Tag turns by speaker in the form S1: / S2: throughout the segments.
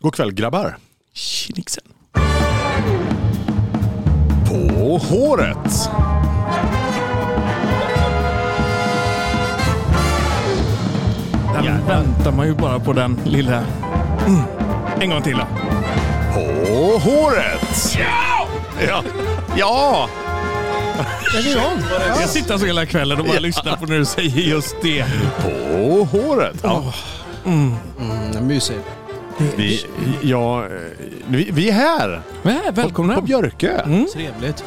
S1: God kväll grabbar.
S2: Kinixen.
S1: På håret.
S2: Den väntar man ju bara på den lilla... Mm. En gång till då.
S1: På håret. Ja! Ja!
S2: Jag sitter så hela kvällen och bara lyssnar på när du säger just det.
S1: På håret. Ja.
S3: Den mysig.
S1: Vi, ja, eh, vi, vi är här
S2: Men, välkomna.
S1: på Björkö.
S4: Mm.
S3: Trevligt.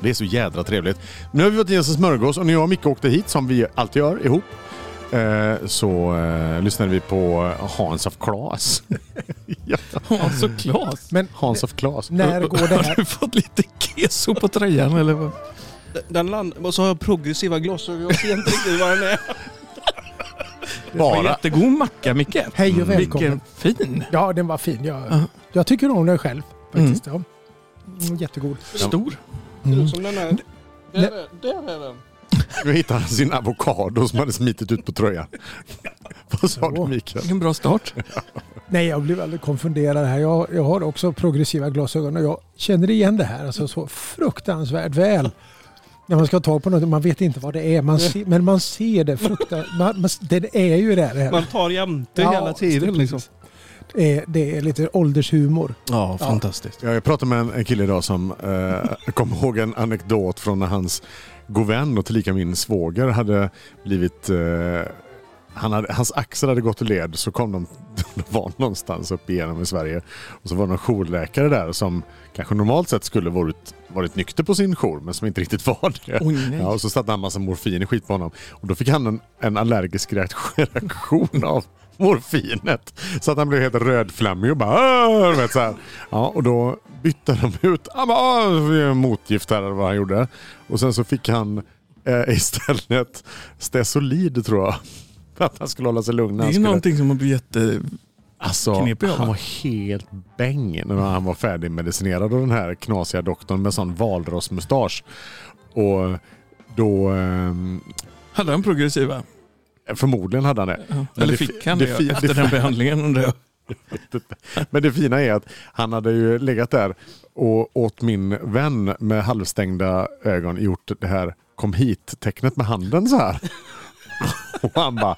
S1: Det är så jädra trevligt. Nu har vi varit i en smörgås och när jag och Micke åkte hit, som vi alltid gör ihop, eh, så eh, lyssnade vi på eh, Hans of Klas. ja,
S2: Ja, så Claes.
S4: Men
S1: Hans of Klas.
S4: när går det
S2: Har
S4: här?
S2: du fått lite keso på tröjan eller? vad?
S3: Den land... Och så har jag progressiva glasögon. Jag ser inte riktigt vad den är.
S2: Vad
S1: Bara.
S2: Jättegod macka Micke.
S4: Hej och välkommen.
S2: Mm. Vilken fin.
S4: Ja, den var fin. Jag,
S2: Ja.
S4: jag tycker om den själv faktiskt. Ja. Mm, jättegod.
S2: Stor.
S3: Ser ut som den här. Där,
S4: Nej.
S3: är- där är den.
S1: Nu hittade han sin avokado som hade smitit ut på tröjan. Vad sa du Mikael?
S2: Vilken bra start.
S4: Nej, jag blir väldigt konfunderad här. Jag, jag har också progressiva glasögon och jag känner igen det här alltså, så fruktansvärt väl. När man ska ha tag på något, man vet inte vad det är, man ser, men man ser det. Frukta, man, man, det är ju där. Det, här.
S3: Man tar jämte
S4: Ja,
S3: hela tiden liksom.
S4: Det, är, det är lite åldershumor.
S3: Ja, fantastiskt.
S1: Ja, Jag pratade med en, en kille idag som eh, kom ihåg en anekdot från när hans god vän och tillika min svåger hade blivit... Eh, han hade, hans axel hade gått ur led så kom de, de var någonstans upp igenom i Sverige. Och så var det någon jourläkare där som kanske normalt sett skulle varit, varit nykter på sin jour men som inte riktigt var det.
S2: Oj nej.
S1: Ja, och så satte han massa morfin i skit på honom. Och då fick han en, en allergisk reakt- reaktion av morfinet. Så att han blev helt rödflammig och bara "Åh!" du vet, så här. Ja, och då bytte de ut "Ah, men, åh, vi gör motgift här eller vad han gjorde. Och sen så fick han eh, istället Stesolid tror jag. För att han skulle hålla sig lugn. när
S2: Det är
S1: han
S2: ju
S1: skulle...
S2: någonting som man blir jätte...
S1: Alltså,
S2: Knepig av
S1: han
S2: va?
S1: var helt bäng när han var färdigmedicinerad av den här knasiga doktorn med sån valrossmustasch. Och då... ehm,
S2: Hade han progressiva?
S1: Förmodligen hade han det.
S2: Ja.
S1: Men
S2: Eller
S1: det fi-
S2: fick han
S1: det
S2: det,
S1: fi-
S2: efter
S1: det-
S2: den behandlingen undrar jag.
S1: Men det fina är att han hade ju legat där och åt min vän med halvstängda ögon gjort det här kom hit-tecknet med handen så här. Och han bara...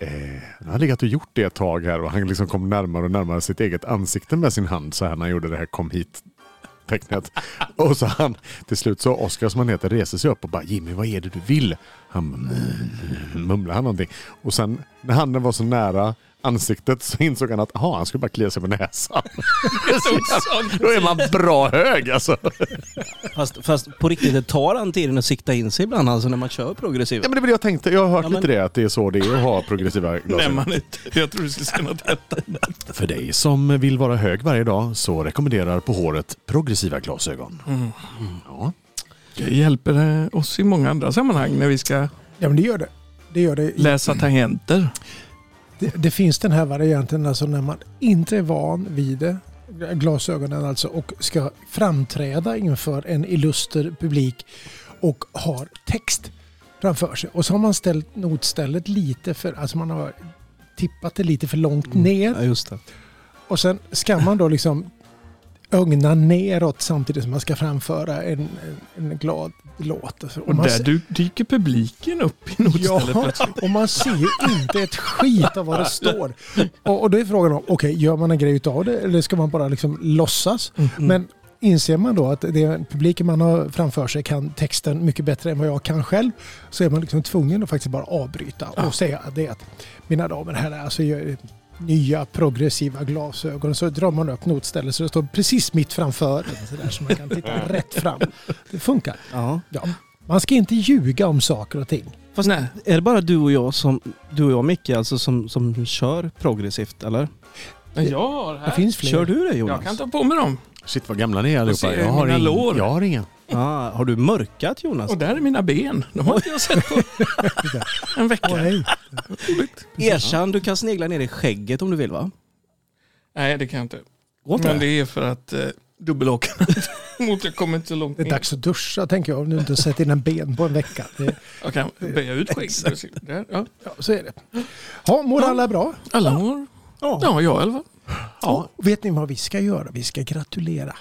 S1: Eh, han har legat och gjort det ett tag här och han liksom kom närmare och närmare sitt eget ansikte med sin hand så här när han gjorde det här kom hit tecknet. Och så han, till slut så Oskar som han heter reser sig upp och bara Jimmy vad är det du vill? Han mumlar han någonting. Och sen när handen var så nära ansiktet så insåg han att aha, han skulle bara klia sig på näsan. Då är man bra hög alltså.
S3: Fast, fast på riktigt, det tar den tiden att sikta in sig ibland alltså när man kör progressiva.
S1: Ja, men det var det jag tänkte. Jag har hört
S3: Ja, men-
S1: lite det att det är så det är att ha progressiva
S2: Nej,
S1: glasögon.
S2: man inte. Jag tror du skulle säga något helt annat.
S1: För dig som vill vara hög varje dag så rekommenderar På håret progressiva glasögon. Ja.
S2: Det Mm. hjälper eh, oss i många andra sammanhang när vi ska
S4: Ja, men det gör det. Det gör det.
S2: läsa tangenter.
S4: Det, det finns den här varianten alltså när man inte är van vid det, glasögonen alltså, och ska framträda inför en illuster publik och har text framför sig. Och så har man ställt notstället lite för, alltså man har tippat det lite för långt
S2: Mm.
S4: ner
S3: Ja, just det.
S4: och sen ska man då liksom ögna neråt samtidigt som man ska framföra en, en, en glad låt. Alltså,
S2: Och
S4: man
S2: där
S4: ser-
S2: du dyker publiken upp i notstället
S4: Ja,
S2: plötsligt.
S4: och man ser ju inte ett skit av vad det står. Och, och då är frågan om, okej, gör man en grej utav det eller ska man bara liksom låtsas?
S2: Mm.
S3: Mm.
S4: Men inser man då att det publiken man har framför sig kan texten mycket bättre än vad jag kan själv så är man liksom tvungen att faktiskt bara avbryta och säga det att mina damer och herrar, alltså jag nya progressiva glasögon så drar man upp notstället så det står precis mitt framför en så, där, så man kan titta rätt fram. Det funkar.
S3: Ja.
S4: Ja. Man ska inte ljuga om saker och ting.
S3: Fast
S2: Nej.
S3: är det bara du och jag som, du och jag Micke alltså som, som kör progressivt eller?
S2: Men jag har
S4: Det
S2: här.
S4: finns fler.
S3: Kör du det Jonas?
S2: Jag kan ta på mig dem.
S1: Shit vad gamla ni är
S2: ser
S1: allihopa.
S2: jag
S1: Jag har,
S2: mina
S1: ingen,
S2: lår.
S1: jag har ingen.
S3: Ah, har du mörkat Jonas?
S2: Och där är mina ben. De har inte jag sett på en vecka.
S4: Åh, nej.
S3: Erkänn, du kan snegla ner i skägget om du vill va?
S2: Nej, det kan jag inte.
S3: Går inte
S2: Men det är för att eh, dubbelåka mot jag kommer inte så långt
S4: Det är
S2: in.
S4: dags att duscha tänker jag om du inte har sett dina ben på en vecka. Det,
S2: Jag kan böja ut skägg. Där, ja.
S4: ja, så är det. Ja, mår alla bra?
S2: Alla mår... Ja, jag i alla fall.
S1: Ja.
S4: Och vet ni vad vi ska göra? Vi ska gratulera.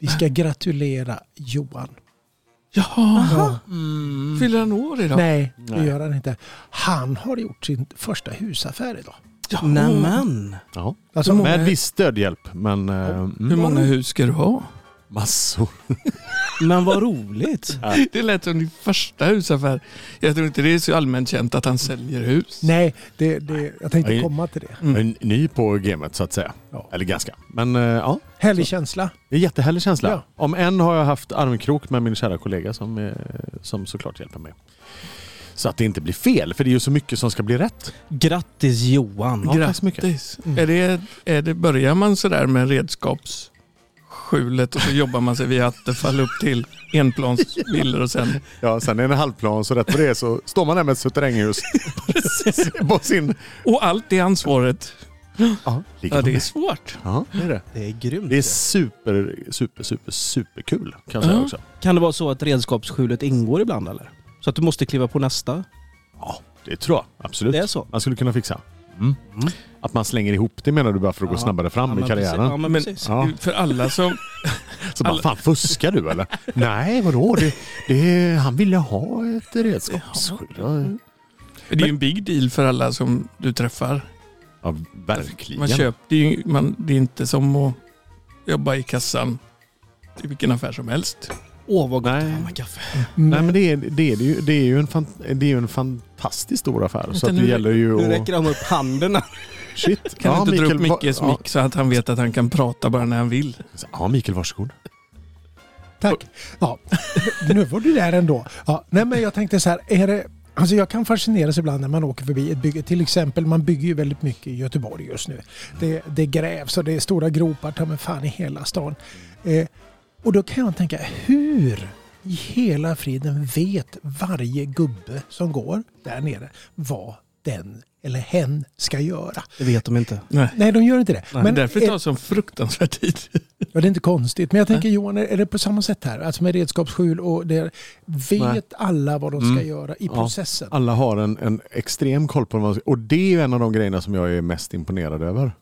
S4: Vi ska gratulera Johan.
S2: Jaha. Mm. Fyller han år idag?
S4: Nej, det
S1: Nej.
S4: gör han inte. Han har gjort sin första husaffär idag.
S2: Jaha.
S3: Nämen.
S1: Ja.
S4: Alltså,
S1: Med viss stödhjälp, men eh,
S2: Hur
S1: mm,
S2: många hus ska du ha?
S1: massor.
S3: Men vad roligt.
S2: Det lät som din första husaffär. Jag tror inte det är så allmänt känt att han säljer hus.
S4: Nej, det, det, jag tänkte
S1: Nej.
S4: komma till det.
S1: Jag är Ny på gamet så att säga.
S4: Ja.
S1: Eller ganska. Men eh, ja,
S4: Härlig känsla.
S1: det är en jättehärlig känsla.
S4: Ja.
S1: Om en har jag haft armkrok med min kära kollega som, eh, som såklart hjälper mig. Så att det inte blir fel, för det är ju så mycket som ska bli rätt.
S3: Grattis Johan.
S1: Ja, tack så mycket.
S2: Grattis.
S3: Mm.
S2: Är det, är det, börjar man sådär med redskapsskjulet och så jobbar man sig via Attefall upp till enplansvillor och sen
S1: Ja, sen är det en halvplan så rätt på det så står man där med ett suteränghus på sin...
S2: Och allt det ansvaret.
S1: Ja,
S2: Ja, det är
S1: det...
S2: svårt.
S1: Ja, det är det.
S3: Det är grymt.
S1: Det är super, super, super, superkul kan jag säga
S2: Ja.
S1: också.
S3: Kan det vara så att redskapsskjulet ingår ibland eller? Så att du måste kliva på nästa?
S1: Ja, det tror jag. Absolut.
S3: Det är så? Oh
S1: Man skulle kunna fixa. Mm. Att man slänger ihop det menar du bara för att gå
S3: Ja.
S1: snabbare fram i
S3: men
S1: karriären?
S3: Precis. Ja, men
S2: Men-
S3: precis.
S1: Ja.
S2: För alla som...
S1: Så bara,
S2: Alla-
S1: fan fuskar du eller? Nej, vadå? Det, det, han ville ha ett redskapsskydd. Ja,
S2: Det är ju en big deal för alla som du träffar.
S1: Ja, verkligen.
S2: Man köper, det, är ju, man, det är inte som att jobba i kassan i vilken affär som helst.
S3: Åh vad gott
S1: Nej.
S3: det var med kaffe.
S1: Nej, men det är, det är, det ju, det är ju en fan, det är ju en fantastiskt stor affär. Så
S2: Vänta,
S1: att det
S2: nu-
S1: gäller ju
S3: Nu
S1: att...
S3: räcker de upp handen.
S1: Shit.
S2: Kan du inte dra upp
S1: va-
S2: Mickes mick så att han vet att han kan prata bara när han vill?
S1: Ja. ja, Mikael, varsågod.
S4: Tack. Ja, nu var du där ändå. Ja, nej, men jag tänkte så här, är det, alltså jag kan fascineras ibland när man åker förbi ett bygge. Till exempel, man bygger ju väldigt mycket i Göteborg just nu. Det, det grävs och det är stora gropar ta mig fan i hela stan. Eh, och då kan jag tänka, hur i hela friden vet varje gubbe som går där nere vad den eller hen ska göra?
S3: Det vet de inte.
S2: Nej.
S4: Nej, de gör inte det.
S2: Men därför
S4: är-
S2: tar det sån fruktansvärd tid.
S4: Ja, det är inte konstigt. Men jag tänker Johan, är är det på samma sätt här? Alltså med redskapsskjul och det. Vet
S1: Nej.
S4: alla vad de ska
S1: Mm.
S4: göra i
S1: Ja.
S4: processen?
S1: Alla har en, en extrem koll på vad man ska- Och det är ju en av de grejerna som jag är mest imponerad över.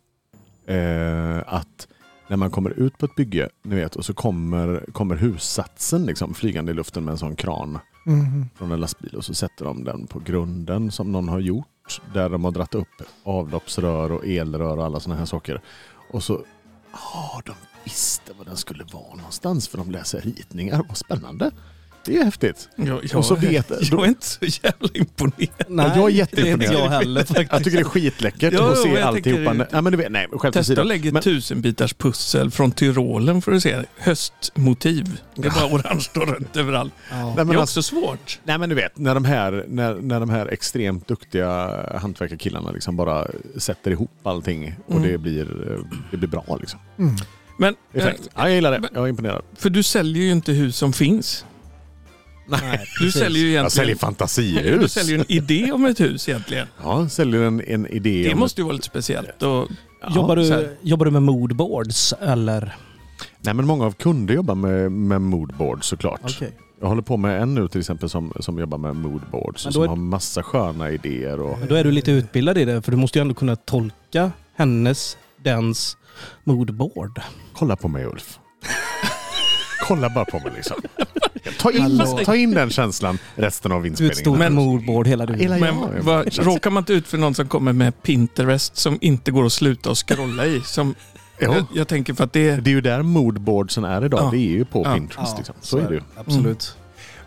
S1: Eh, att när man kommer ut på ett bygge, ni vet, och så kommer, kommer hussatsen liksom, flygande i luften med en sån kran
S4: Mhm.
S1: från en lastbil och så sätter de den på grunden som någon har gjort. Där de har dratt upp avloppsrör och elrör och alla sådana här saker. Och så, ja, de visste var den skulle vara någonstans för de läser ritningar. Vad spännande. Det är ju häftigt.
S2: Jag, jag,
S1: Och så vet-
S2: jag är inte så jävla imponerad.
S3: Nej,
S1: jag är
S3: det är inte
S1: jätteimponerad.
S3: jag heller faktiskt.
S1: Jag tycker det är skitläckert
S2: Ja,
S1: att
S2: jo,
S1: se
S2: jag
S1: alltihopa.
S2: tänker-
S1: Nej, men du vet, nej, skämt
S2: Testa
S1: åsido.
S2: att lägga
S1: Men-
S2: tusenbitars pussel från Tyrolen för att se höstmotiv. Det är bara orange och rött överallt.
S1: Nej,
S2: Det
S1: men
S2: är
S1: alltså-
S2: också svårt.
S1: Nej men du vet, när de här, när, när de här extremt duktiga hantverkarkillarna liksom bara sätter ihop allting och
S2: Mm.
S1: det, blir, eh, det blir bra liksom.
S4: Mm.
S2: Men, eh,
S1: Det är fräckt. Ja, jag gillar det. Jag är imponerad.
S2: för du säljer ju inte hus som finns.
S3: Nej,
S2: Du
S3: precis.
S2: säljer ju egentligen...
S1: Jag säljer
S2: Du
S1: fantasihus.
S2: säljer ju en idé om ett hus egentligen.
S1: Ja, säljer en, en idé.
S2: Det
S1: om-
S2: måste ju vara lite speciellt. Och,
S1: Ja,
S3: Jobbar,
S2: så
S3: du,
S2: här.
S3: jobbar du med moodboards eller?
S1: Nej men många av kunder jobbar med, med moodboard såklart. Jag håller på med en nu till exempel som, som jobbar med moodboards
S3: Men
S1: och
S3: då
S1: som
S3: är-
S1: har massa sköna idéer. Och...
S3: Men Då är du lite utbildad i det för du måste ju ändå kunna tolka hennes, dens moodboard.
S1: Kolla på mig Ulf. Kolla bara på mig liksom. Ta in,
S3: Hallå.
S1: ta in den känslan resten av
S3: Du är ett
S1: inspelningen.
S3: stort
S2: Men-
S3: moodboard hela du.
S1: Hela-
S2: Men
S1: Ja, ja.
S2: vad, råkar man inte ut för någon som kommer med Pinterest som inte går att sluta och scrolla i? Som,
S1: Jo.
S2: jag, jag tänker för att det är...
S1: Det är ju där moodboardsen är idag.
S2: Ja.
S1: Det är ju på
S2: Ja.
S1: Pinterest. Liksom. Så är det ju.
S3: Absolut.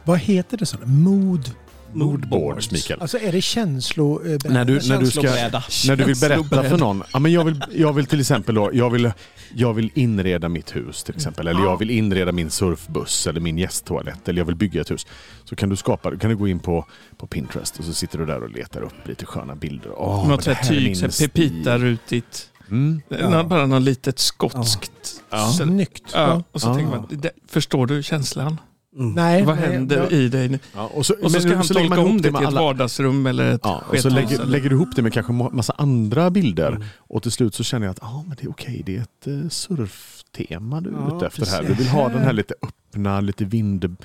S4: Vad heter det? Sådär? Mood?
S1: Moodboards Mikael.
S4: Alltså är det känslo... eh,
S1: När du, Mm. när, du ska,
S3: Känslobräda.
S1: när du vill berätta
S2: Känslobräda.
S1: för någon. Ja, men jag, vill, jag vill till exempel då, jag vill, jag vill inreda mitt hus till exempel. Eller jag vill inreda min surfbuss eller min gästtoalett. Eller jag vill bygga ett hus. Så kan du skapa, kan du gå in på, på Pinterest och så sitter du där och letar upp lite sköna bilder. Åh, men
S2: Något
S1: det
S2: sånt här
S1: här är
S2: tyg,
S1: min
S2: så här
S1: stil.
S2: pepitarutigt.
S1: Mm.
S2: Nå- Bara något litet skotskt.
S1: Ja.
S2: Så-
S4: Snyggt.
S2: Ja, och så
S1: Ja.
S2: tänker man, det, förstår du känslan?
S1: Mm.
S4: Nej,
S2: Vad
S4: nej,
S2: händer
S4: jag-
S2: i dig? nu?
S1: Ja, och så,
S2: Och så
S1: men
S2: ska han
S1: lägger man
S2: tolka om
S1: ihop
S2: det
S1: med
S2: till ett
S1: alla-
S2: vardagsrum eller ett
S1: Ja, och så
S2: skethus
S1: lägger,
S2: eller-
S1: lägger du ihop det med kanske ma- massa andra bilder.
S3: Mm.
S1: Och till slut så känner jag att ah, men det är okej, det är ett eh, surftema du är
S3: Ja,
S1: ute efter här. Du
S4: precis.
S1: vill ha den här lite öppna, lite vind,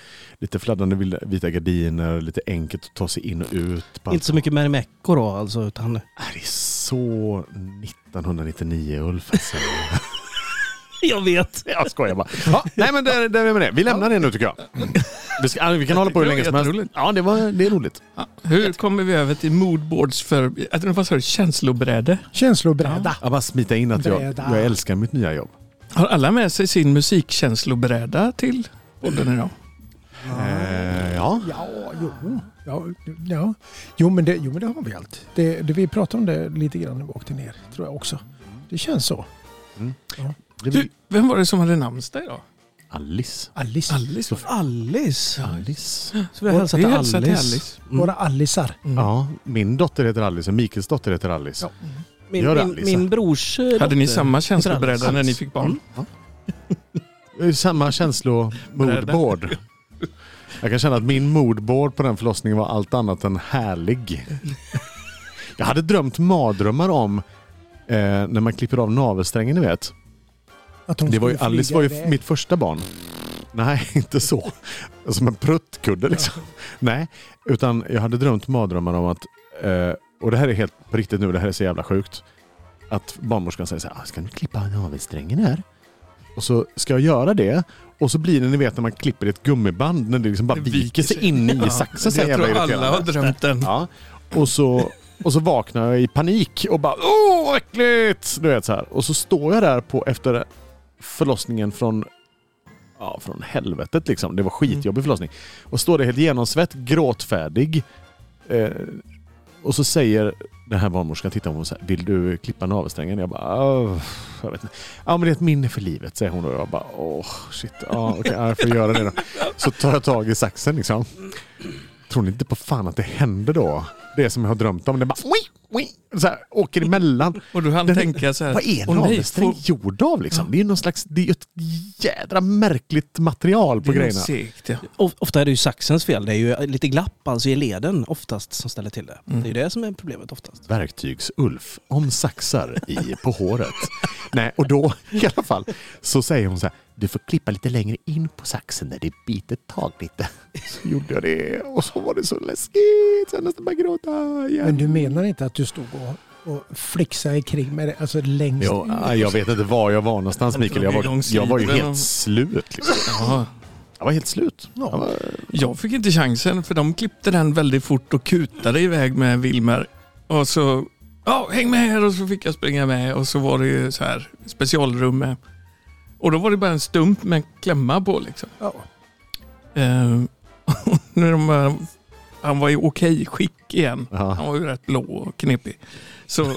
S1: lite fladdrande vilda- vita gardiner, lite enkelt att ta sig in och ut. Bara-
S3: Inte så mycket Merimäcko då alltså, utan
S1: Ah, Det är så 1999 Ulf. Alltså.
S3: jag vet.
S1: jag skojar bara. Ja, nej men där, där är vi med det. Vi lämnar det nu tycker jag. Vi, ska, ah, vi kan hålla på hur
S2: Det var
S1: länge som helst.
S2: jätteroligt.
S1: Ja, det, var, det är roligt.
S2: Ja, Hur kommer vi över till moodboards för, jag tror- vad sa du, känslobräde?
S4: Känslobräda.
S1: Jag bara smita in att jag,
S4: Breda.
S1: jag älskar mitt nya jobb.
S2: Har alla med sig sin musikkänslobräda till podden idag?
S1: Eh, ja.
S4: Ja, jo. Ja, ja. Jo, men det, jo, men det har vi allt. Det, det, vi pratade om det lite grann när vi åkte ner, tror jag också. Det känns så.
S1: Det
S2: Du,
S1: blir
S2: vem var det som hade namnsdag idag?
S1: Alice.
S4: Alice.
S2: Alice. var det.
S3: Alice.
S1: Alice.
S3: Så vi har hälsat
S2: Vi
S3: till
S2: hälsar till
S3: Alice.
S2: Alice.
S3: Mm.
S4: Våra Allisar.
S1: Ja, min dotter heter Alice och Mikels dotter heter Alice.
S4: Ja.
S1: Gör
S3: Min,
S1: det,
S3: min,
S1: Alice.
S3: min brors eh,
S2: Hade ni
S3: dotter.
S2: samma känslobräda
S3: Alice.
S2: när ni fick barn?
S1: Det är Eh, Samma känslomodboard. Jag kan känna att min moodboard på den förlossningen var allt annat än härlig. Jag hade drömt mardrömmar om eh, när man klipper av navelsträngen, ni vet.
S4: Att hon
S1: Det var ju,
S4: skulle flyga
S1: Alice var ju
S4: iväg.
S1: mitt första barn. Nej, inte så. Som en pruttkudde liksom. Nej, utan jag hade drömt mardrömmar om att, eh, och det här är helt på riktigt nu, det här är så jävla sjukt. Att barnmorskan säger så här, "Ah, ska du klippa navelsträngen här? Och så ska jag göra det. Och så blir det, ni vet när man klipper ett gummiband, när det liksom bara
S2: Det
S1: viker, sig in i saxen. så
S2: Jag
S1: jävla
S2: tror alla
S1: irriterande.
S2: har drömt den.
S1: Ja. Och så, och så vaknar jag i panik och bara åh vad äckligt! Du vet så här. Och så står jag där på efter förlossningen från Ja, från helvetet liksom. Det var skitjobbig förlossning. Och står där helt genomsvett, gråtfärdig. Eh, och så säger den här barnmorskan, tittar hon så här, vill du klippa navelsträngen? Jag bara, "Åh, jag vet inte. Ja men det är ett minne för livet, säger hon. Och jag bara, åh shit, ja, okej, ja, jag får göra det då. Så tar jag tag i saxen liksom. Tror ni inte på fan att det händer då? Det som jag har drömt om. Det bara oi, oi, så här, åker emellan.
S2: Och du hann
S1: Den-
S2: tänka så här.
S1: Vad är
S2: "Åh, nej,
S1: navelsträng
S2: får-
S1: gjord av liksom? Det är ju någon slags, det är ju ett jädra märkligt material på
S2: Det är
S1: grejerna.
S2: segt, ja.
S3: Of- Ofta är det ju saxens fel. Det är ju lite glapp alltså i leden oftast som ställer till det. Det är ju det som är problemet oftast.
S1: Verktygs-Ulf om saxar i, på håret. Nej, och då i alla fall så säger hon så här, du får klippa lite längre in på saxen där det biter tag lite. Så gjorde jag det och så var det så läskigt så jag nästan bara gråta igen.
S4: Men du menar inte att du stod och, och flixade kring med det, alltså längst
S1: Jo, nej, jag vet inte var jag var någonstans Mikael. Jag var, jag var ju helt slut. Liksom.
S2: ja.
S1: Jag var helt slut. Jag var,
S2: Jag fick inte chansen för de klippte den väldigt fort och kutade iväg med Wilmer. Och så, ja häng med här och så fick jag springa med och så var det ju så här specialrum med. Och då var det bara en stump med klämma på liksom.
S4: Ja.
S2: Eh, och när de, eh, han var i okej skick igen. Han
S1: ja.
S2: var ju rätt blå och knepig. Så då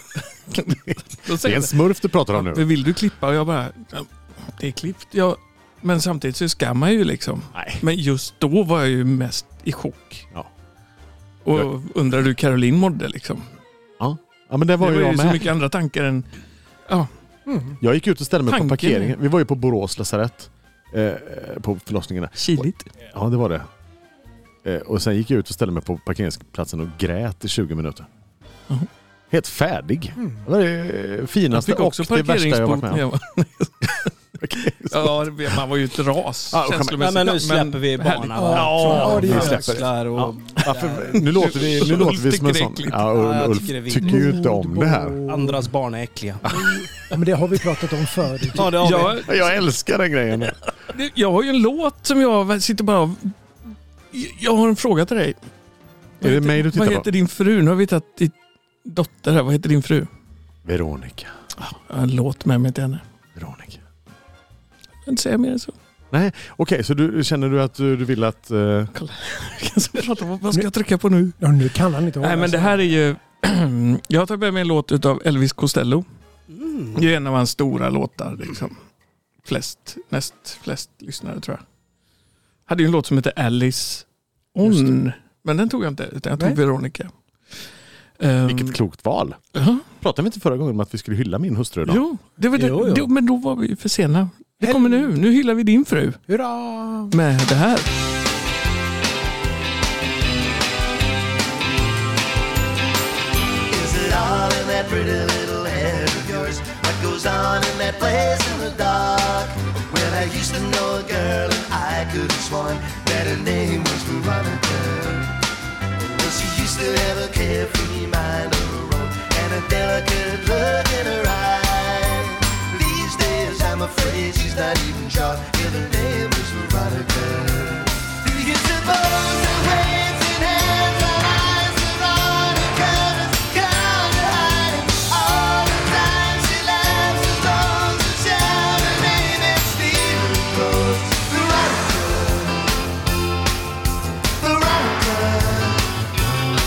S1: Det är
S2: säger
S1: en smurf du pratar om
S2: jag,
S1: nu.
S2: vill du klippa? Och jag bara, "Ja, det är klippt. Jag, men samtidigt så ska man ju liksom.
S1: Nej.
S2: Men just då var jag ju mest i chock.
S1: Ja.
S2: Och
S1: Jag-
S2: undrar hur Caroline mådde liksom.
S1: Ja, men det
S2: Det
S1: var,
S2: var,
S1: ju jag
S2: ju så
S1: med.
S2: mycket andra tankar än...
S4: Mm.
S1: Jag gick ut och ställde mig
S2: Tanken.
S1: på parkeringen. Vi var ju på Borås lasarett. Eh, på förlossningen där.
S2: Kiligt.
S1: Ja, det var det. Eh, och sen gick jag ut och ställde mig på parkeringsplatsen och grät i 20 minuter.
S2: Jaha.
S1: Helt färdig.
S4: Mm.
S1: Det var det
S2: Jag
S1: finaste
S2: fick också
S1: och det värsta jag varit
S2: parkeringsbot.
S1: med
S2: när
S1: om.
S2: jag var- Ja, det vet man var ju ett ras
S1: Ja, och kom-
S2: känslomässigt.
S3: Nej, men nu släpper vi barnen.
S2: härligt.
S3: va?
S1: Ja,
S4: ja, det
S3: Från
S4: gör
S1: vi släpper.
S3: axlar och...
S1: Ja. Varför- Nu låter vi, nu låter vi som en
S2: tycker det är
S1: sån...
S2: äckligt.
S1: Ja,
S3: Ja, jag
S1: Ulf
S3: tycker det är
S1: tycker,
S3: vidrigt.
S1: ju inte om det här.
S3: Andras barn är äckliga.
S4: Ja, men det har vi pratat om förut.
S3: Ja, det har vi.
S2: Jag,
S1: Jag älskar den grejen.
S2: det- jag har ju en låt som jag sitter bara och- Jag har en fråga till dig.
S1: Är det mig du
S2: Vad
S1: tittar på?
S2: heter din fru? Nu har vi tagit din dotter här. Vad heter din fru?
S1: Veronica.
S2: Jag har en låt med mig till henne.
S1: Veronica.
S2: Jag kan inte säga mer än så.
S1: Okej, så du, känner du att du, du vill att... eh,
S2: Jag kan inte prata om- Vad ska jag trycka på nu?
S4: Ja, nu kan han inte hålla
S2: Nej, men det
S4: sig.
S2: här är ju... jag har tagit med mig en låt av Elvis Costello.
S3: Mm.
S2: Det är en av hans stora låtar. Liksom. Flest, näst flest lyssnare tror jag. Hade ju en låt som heter Alice
S4: Just
S2: On. Men den tog jag inte, utan jag tog
S4: Nej.
S2: Veronica. Ehm,
S1: Vilket klokt val.
S2: ja,
S1: Pratade vi inte förra gången om att vi skulle hylla min hustru idag?
S2: jo, det var det,
S3: Jo, jo.
S2: Jo, men då var vi ju för sena. Det kommer nu. Nu hyllar vi din fru
S4: Hurra!
S2: med det här.
S5: that pretty little head of yours. What goes on in that place in the dark? Well, I used to know a girl, and I could have sworn that her name was Veronica. Well, she used to have a carefree mind of her own and a delicate look in her eye. These days, I'm afraid she's not even sure if her name is Veronica. Do you suppose that hands in hands our eyes are on a curtain's counter hiding all the time she laughs and throws and shouts her name and Stephen goes Veronica, Veronica.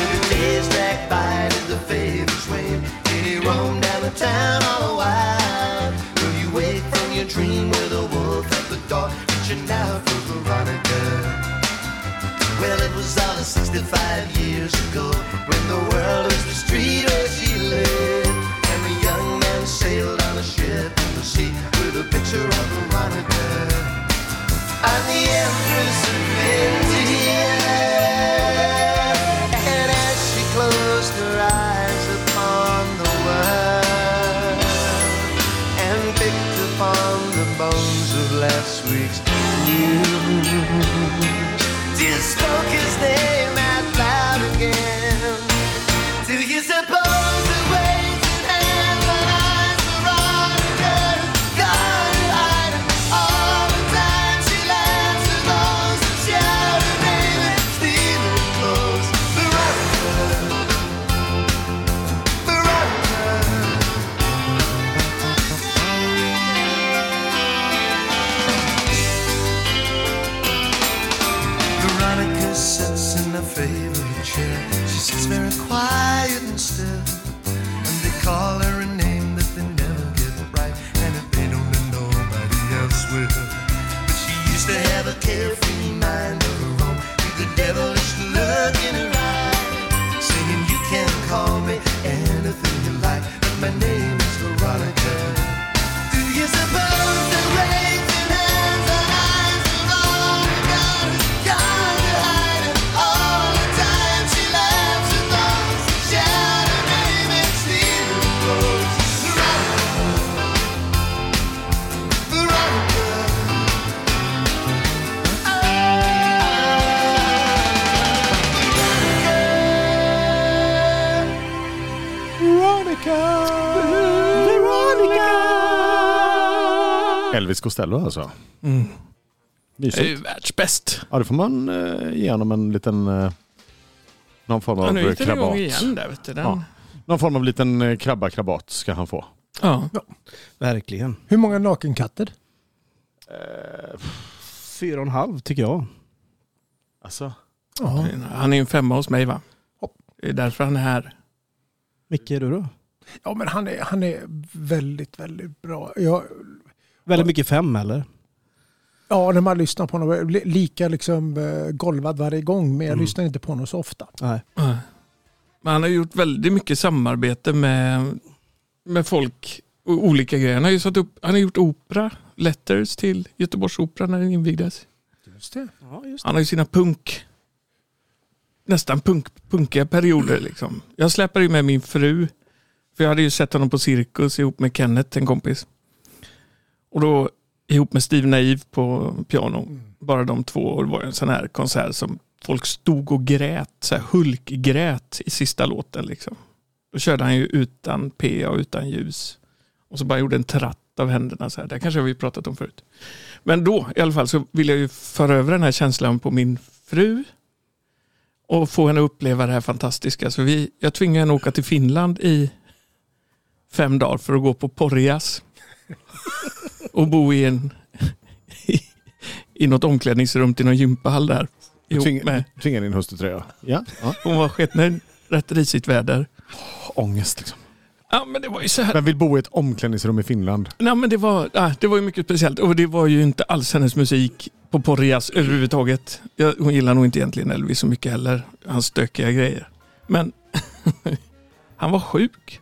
S5: In the days dragged by did the favors wane? Did he roam down the town all the while? Will you wake from your dream with a wolf at the door reaching out for Veronica? Well, it was all of 65 years ago when the world was the street where she lived. And the young man sailed on a ship in the sea with a picture of Veronica. I'm the Empress of India. And as she closed her eyes upon the world and picked upon the bones of last week's news, just spoke his name out loud again. Do you suppose the waves in hand, the eyes are on the curtain, gone to hide it? all the time she laughs and goes and shouts her name and steals her clothes. Veronica, Veronica. Veronica sits in her favorite chair. She sits very quiet and still. And they call her a name that they never get right. And if they don't, then nobody else will. But she used to have a carefree mind of her own. With the devilish look in her eye. Singing, You can call me anything you like. But my name is Veronica. Do you suppose that raising hands and eyes are all you got? Got to hide it all the time. She laughs and throws and shouts her name and steals clothes. Veronica, Veronica, Veronica.
S1: Elvis Costello alltså.
S2: Det är
S1: Mysigt.
S2: ju världsbäst.
S1: Ja, det får man eh, ge honom en liten... Eh, någon form
S2: Ja,
S1: av
S2: nu
S1: eh,
S2: gick den igång
S1: krabat.
S2: igen där vet du. Den.
S1: Ja. Någon form av liten eh, krabba-krabat ska han få.
S2: Ja.
S3: Verkligen.
S4: Hur många nakenkatter?
S1: Eh,
S3: Fyra och en halv tycker jag.
S1: Alltså.
S4: Ja.
S2: Han är ju en femma hos mig va? Det är därför han är här.
S3: Micke, är du då?
S4: Ja, men han är, han är väldigt, väldigt bra. Jag,
S3: Väldigt mycket fem eller?
S4: ja, när man lyssnar på honom, jag blir lika liksom eh, golvad varje gång, men jag
S1: Mm.
S4: lyssnar inte på honom så ofta.
S3: Nej.
S2: Men han har gjort väldigt mycket samarbete med, med folk och olika grejer. Han har ju satt upp, han har gjort opera, letters till Göteborgsoperan när den invigdes.
S4: Just det.
S3: Ja, just
S2: Han har ju sina punk, nästan punk, punkiga perioder liksom. Jag släpar ju med min fru, för jag hade ju sett honom på Cirkus ihop med Kenneth, en kompis. Och då ihop med Steve Naiv på piano,
S4: Mm.
S2: bara de två, och det var en sån här konsert som folk stod och grät, så här hulkgrät i sista låten liksom. Då körde han ju utan PA och utan ljus. Och så bara gjorde en tratt av händerna så här. Det kanske har vi pratat om förut. Men då i alla fall så vill jag ju föra över den här känslan på min fru och få henne att uppleva det här fantastiska. Så vi, jag tvingade henne åka till Finland i fem dagar för att gå på Porjas och bo i en i, i något omklädningsrum till någon gympahall där.
S1: Du
S2: Ihop med,
S1: tvingar, tvingar din hustru till det ja. ja. ja.
S2: hon var sketnöjd, rätt risigt väder.
S1: Ångest liksom.
S2: Ja men det var ju så här
S1: Vem vill bo i ett omklädningsrum i Finland?
S2: Nej, men det, var, ah, det var ju mycket speciellt och det var ju inte alls hennes musik på Porrias överhuvudtaget. Jag, hon gillar nog inte egentligen Elvis så mycket heller, hans stökiga grejer. Men han var sjuk.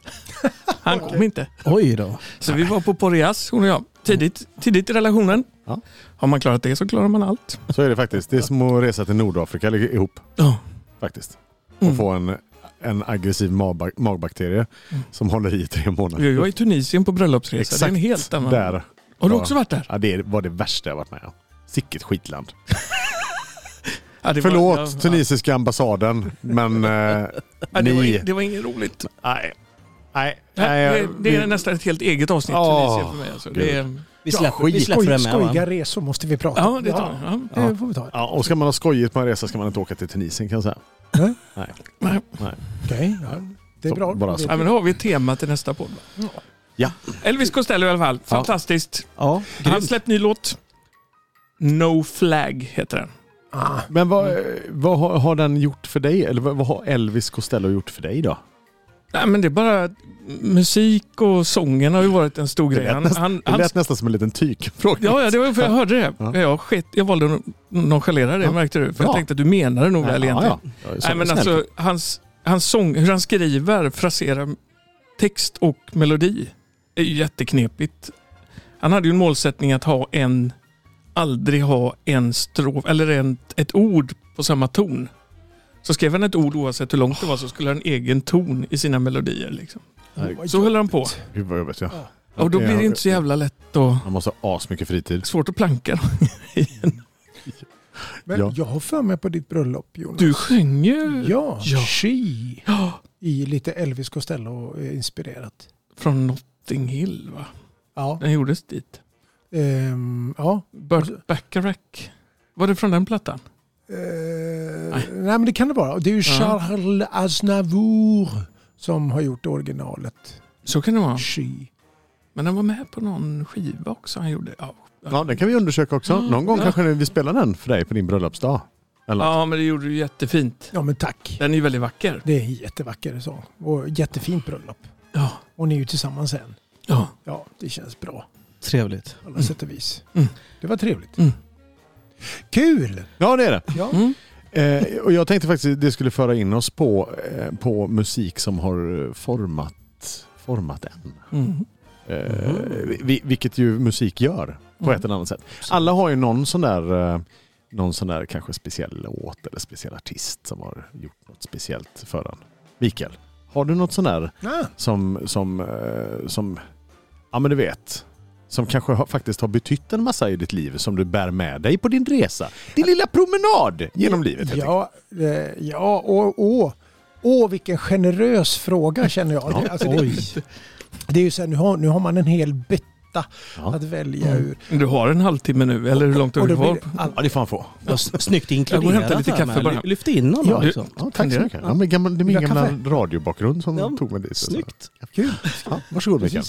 S2: Han kom inte.
S3: Oj då.
S2: Så vi var på Porrias, hon och jag. tidigt, tidigt i relationen.
S1: Ja.
S2: Har man klarat det så klarar man allt.
S1: Så är det faktiskt. Det är som att resa till Nordafrika li- ihop
S2: Ja.
S1: faktiskt. Och
S2: Mm.
S1: få en, en aggressiv magba- magbakterie
S2: Mm.
S1: som håller i tre månader.
S2: Jag var i Tunisien på bröllopsresa. Det är en helt annan.
S1: där.
S2: Har du
S1: Ja.
S2: också varit där?
S1: Ja, det var det värsta jag varit med om. Sicket skitland.
S2: Ja, det var-
S1: Förlåt
S2: ja, ja.
S1: tunisiska ambassaden, men eh,
S2: Ja, det, var,
S1: ni...
S2: in- det var inget roligt.
S1: Nej. Nej.
S2: Nej,
S1: nej,
S2: det, det är
S1: vi-
S2: nästan ett helt eget avsnitt
S1: Åh,
S2: Tunisien för mig. Alltså. Det är,
S3: Vi
S1: Ja,
S3: släpper, vi
S1: skit.
S4: Skoj,
S3: släpper den med va?
S4: skojiga resor måste vi prata
S2: ja, det tar ja.
S4: Ja, det får vi ta.
S1: Ja, och ska man ha skojigt på en resa ska man inte åka till Tunisien kan jag säga.
S2: Nej,
S4: Okej, ja. det är
S1: Så,
S4: bra.
S1: bara så.
S2: men då har vi ett tema till nästa podd. va?
S1: Ja.
S2: Elvis Costello i alla fall.
S1: Ja.
S2: Fantastiskt.
S3: Ja,
S2: Han har
S3: grymt.
S2: släppt ny låt. No Flag heter den.
S4: Ah,
S1: Men vad,
S2: Mm.
S1: vad har, har den gjort för dig? Eller vad, vad har Elvis Costello gjort för dig då?
S2: Nej, men det är bara musik och sången har ju varit en stor
S1: Det
S2: grej.
S1: lät,
S2: Han,
S1: nästan,
S2: han,
S1: det
S2: han,
S1: lät nästan som en liten tykfråga.
S2: ja, ja, det var för jag hörde det.
S1: Ja.
S2: Jag, sket, jag valde att nonchalera det
S1: Ja.
S2: märkte du. För jag
S1: Bra.
S2: tänkte att du menade nog väl egentligen.
S1: Ja, ja. Ja, så-
S2: Nej, men
S1: snäll.
S2: alltså, hans, hans sång, hur han skriver, fraserar text och melodi är ju jätteknepigt. Han hade ju en målsättning att ha en, aldrig ha en strof, eller en, ett ord på samma ton. Så skrev han ett ord oavsett hur långt det var så skulle han en egen ton i sina melodier. Liksom.
S1: Nej,
S4: vad
S2: Så höll han på.
S4: jobbigt.
S1: Gud vad jobbigt. Ja.
S2: Och då blir det inte så jävla lätt och
S1: Han måste ha asmycket fritid.
S2: svårt att planka.
S4: Men
S1: Ja.
S4: jag har för mig på ditt bröllop Jonas.
S2: Du sjöng ju
S4: Ja,
S2: Ja.
S4: She.
S2: Ja,
S4: I lite Elvis eh, Costello-inspirerat.
S2: från Notting Hill va?
S4: Ja.
S2: Den gjordes dit.
S4: Ehm, ja.
S2: Burt Bacharach. Var det från den plattan?
S4: Eh,
S2: Nej.
S4: nej. men det kan det vara. Och Det är ju
S2: Ja.
S4: Charles Aznavour som har gjort originalet.
S2: Så kan det vara.
S4: She.
S2: Men han var med på någon skiva också han gjorde. Ja,
S1: Ja, den kan vi undersöka också. Någon gång
S2: Ja.
S1: kanske vi spelar den för dig på din bröllopsdag. Eller?
S2: ja men det gjorde du jättefint.
S4: Ja men tack.
S2: Den är ju väldigt vacker.
S4: Det är en jättevacker sång. Och jättefint bröllop.
S2: Ja.
S4: Och ni är ju tillsammans sen.
S2: ja.
S4: Ja, det känns bra.
S3: Trevligt.
S4: På alla sätt och vis.
S2: Mm.
S4: Det var trevligt.
S2: Mm.
S4: Kul!
S1: Ja, det är det.
S4: Ja.
S2: Mm.
S1: Eh, och jag tänkte faktiskt att det skulle föra in oss på, eh, på musik som har eh, format, format en.
S2: Mm.
S1: Eh, vi, vilket ju musik gör på
S2: Mm.
S1: ett eller annat sätt. Alla har ju någon sån där, eh, någon sån där kanske speciell låt eller speciell artist som har gjort något speciellt för en. Mikael, har du något sån där
S4: Ah,
S1: som, som, eh, som ja men du vet, som kanske har, faktiskt har betytt en massa i ditt liv som du bär med dig på din resa? Din lilla promenad genom livet. helt enkelt.
S4: ja, eh, ja och, och, och vilken generös fråga känner jag.
S1: Ja.
S4: Det, alltså, det,
S3: Oj.
S4: det är ju så här, nu har, nu har man en hel bytta
S1: Ja. Mm.
S4: att välja ur.
S2: Mm. Du har en halvtimme nu, eller hur långt har
S4: Och
S2: du
S4: då
S2: kvar?
S4: blir det all-
S1: Ja, det får han få.
S3: Vad s- snyggt inkluderat.
S2: Jag går och hämtar lite
S3: här
S2: kaffe
S3: med.
S2: bara.
S3: Lyft in honom
S2: Ja.
S3: liksom.
S1: Ja, tack så
S2: Funderar.
S1: mycket. Ja, men gammal, det är min
S4: Vill du ha
S1: gamla radiobakgrund som
S3: Ja,
S1: tog mig dit.
S3: Snyggt.
S4: Kul!
S1: Ja, varsågod Mikael.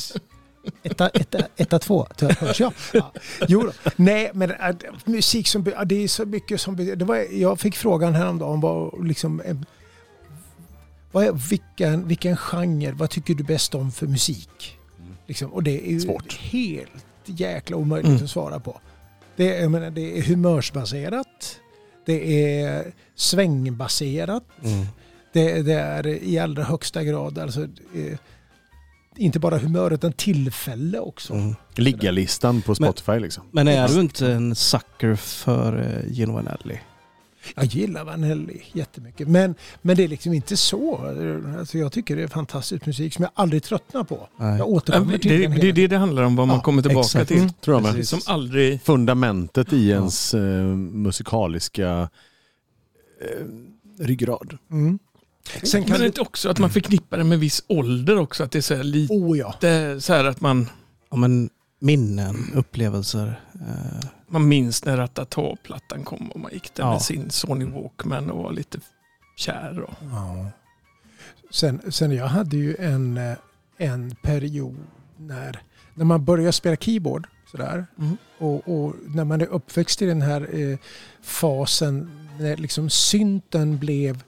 S4: Etta, etta, etta, två, Tö- hörs jag? Ja. Jo då. Nej, men äh, musik som... be- ja, Det är så mycket som... be- Det var, jag fick frågan häromdagen vad liksom... eh, Vad är, vilken, vilken genre, vad tycker du bäst om för musik? Liksom, och det är ju
S1: Mm. Svårt.
S4: helt jäkla omöjligt
S2: Mm.
S4: att svara på. Det, är- jag menar, det är humörsbaserat, det är svängbaserat,
S2: Mm.
S4: det, det är i allra högsta grad alltså, eh, inte bara humör utan tillfälle också.
S3: Mm.
S1: Liggarlistan på Spotify liksom.
S3: Men är du inte en sucker för eh, Gino Vanelli?
S4: Jag gillar Vanelli jättemycket. Men, men det är liksom inte så. Alltså, jag tycker det är fantastisk musik som jag aldrig tröttnar på.
S3: Nej.
S4: Jag
S2: Ja,
S4: återkommer
S2: Det,
S4: till
S2: det,
S4: den
S2: det är
S4: hela
S2: det det handlar om, vad man
S4: Ja, Mm.
S2: kommer tillbaka
S3: exakt.
S2: till.
S1: Tror jag med.
S3: Precis.
S2: Som aldrig...
S1: Fundamentet i ens eh, musikaliska eh, ryggrad.
S4: tiden. Mm. Sen
S2: Men
S4: kan
S2: det är
S4: du...
S2: inte också att man förknippar det med viss ålder också, att det är så här lite
S4: Oh ja.
S2: så här att man,
S3: Ja, men minnen, upplevelser. Eh,
S2: man minns när Ratata-plattan kom och man gick där
S3: Ja.
S2: med sin Sony Walkman och var lite kär. Och,
S4: Sen, sen jag hade ju en, eh, en period när, när man började spela keyboard sådär,
S2: Mm.
S4: och, och när man är uppväxt i den här eh, fasen när liksom synten blev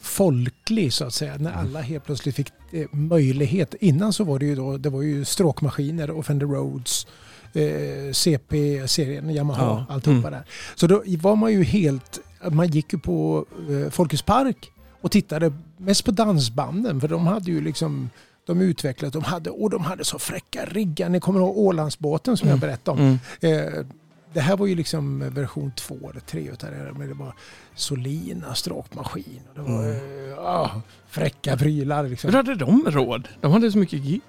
S4: folklig så att säga. När alla helt plötsligt fick eh, möjlighet. Innan så var det ju då, det var ju stråkmaskiner och Fender Rhodes, eh, CP-serien, Yamaha,
S3: Ja.
S4: alltihopa där. Så då var man ju helt, man gick ju på eh, Folkets Park och tittade mest på dansbanden för de hade ju liksom de utvecklat, de hade, och de hade så fräcka riggar. Ni kommer ihåg Ålandsbåten som jag berättade om.
S2: Mm.
S4: Eh, det här var ju liksom version två eller tre utav det här. Men det var Solina stråkmaskin. Och det var eh, ah, fräcka prylar. Liksom.
S2: Hur hade de råd? De hade så mycket gig.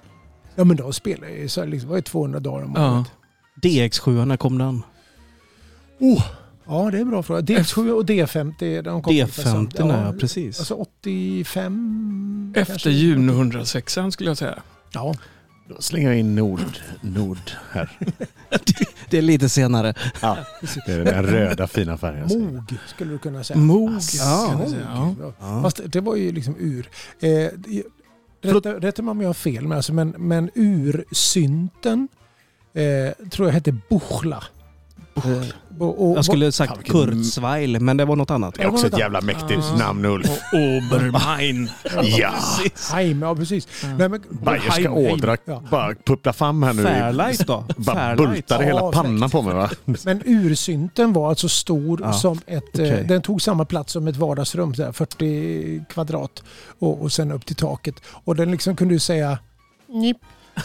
S4: Ja men de spelade ju, så här, liksom, det var ju 200 dagar om
S2: Ja.
S4: året.
S3: DX7, när kom den?
S4: Oh, ja det är en bra fråga. D7 och D50. De kom
S3: D50,
S4: ungefär sam-
S3: när,
S4: ja,
S3: precis.
S4: Alltså 85
S2: Efter
S4: kanske.
S2: Juno 106 skulle jag säga.
S4: Ja.
S1: Då slänger jag in Nord, Nord här.
S3: det är lite senare.
S1: Ja, det är den röda fina färgen. jag säger.
S4: Mog skulle du kunna säga.
S2: Moog.
S4: Ja,
S2: kan jag säga. Ja.
S4: Mog.
S1: Ja.
S4: Fast det var ju liksom ur. Eh, det- rätta, rätta mig om jag har fel, men, alltså, men, men ursynten eh, tror jag hette Buchla. Eh, och, och,
S3: Jag skulle
S1: Fan,
S3: sagt
S1: vilken-
S3: Kurzweil, men det var något annat.
S1: Det är också ett jävla mäktigt
S2: Ah.
S1: namn Ulf.
S2: Och Obermine.
S1: Ja,
S4: Heim, ja precis.
S2: Ja.
S4: Nej, men,
S1: bayerska
S2: Heimheim.
S1: ådra
S4: Ja.
S1: bara puppla fram här nu. i-
S3: Fairlight då?
S1: Bara
S3: Fairlight.
S1: bultade
S4: Ja,
S1: hela pannan på mig va?
S4: men ursynten var alltså stor
S3: Ja,
S4: som ett... Eh,
S3: okej.
S4: den tog samma plats som ett vardagsrum, så här, 40 kvadrat. Och, och sen upp till taket. Och den liksom kunde ju säga... Nip.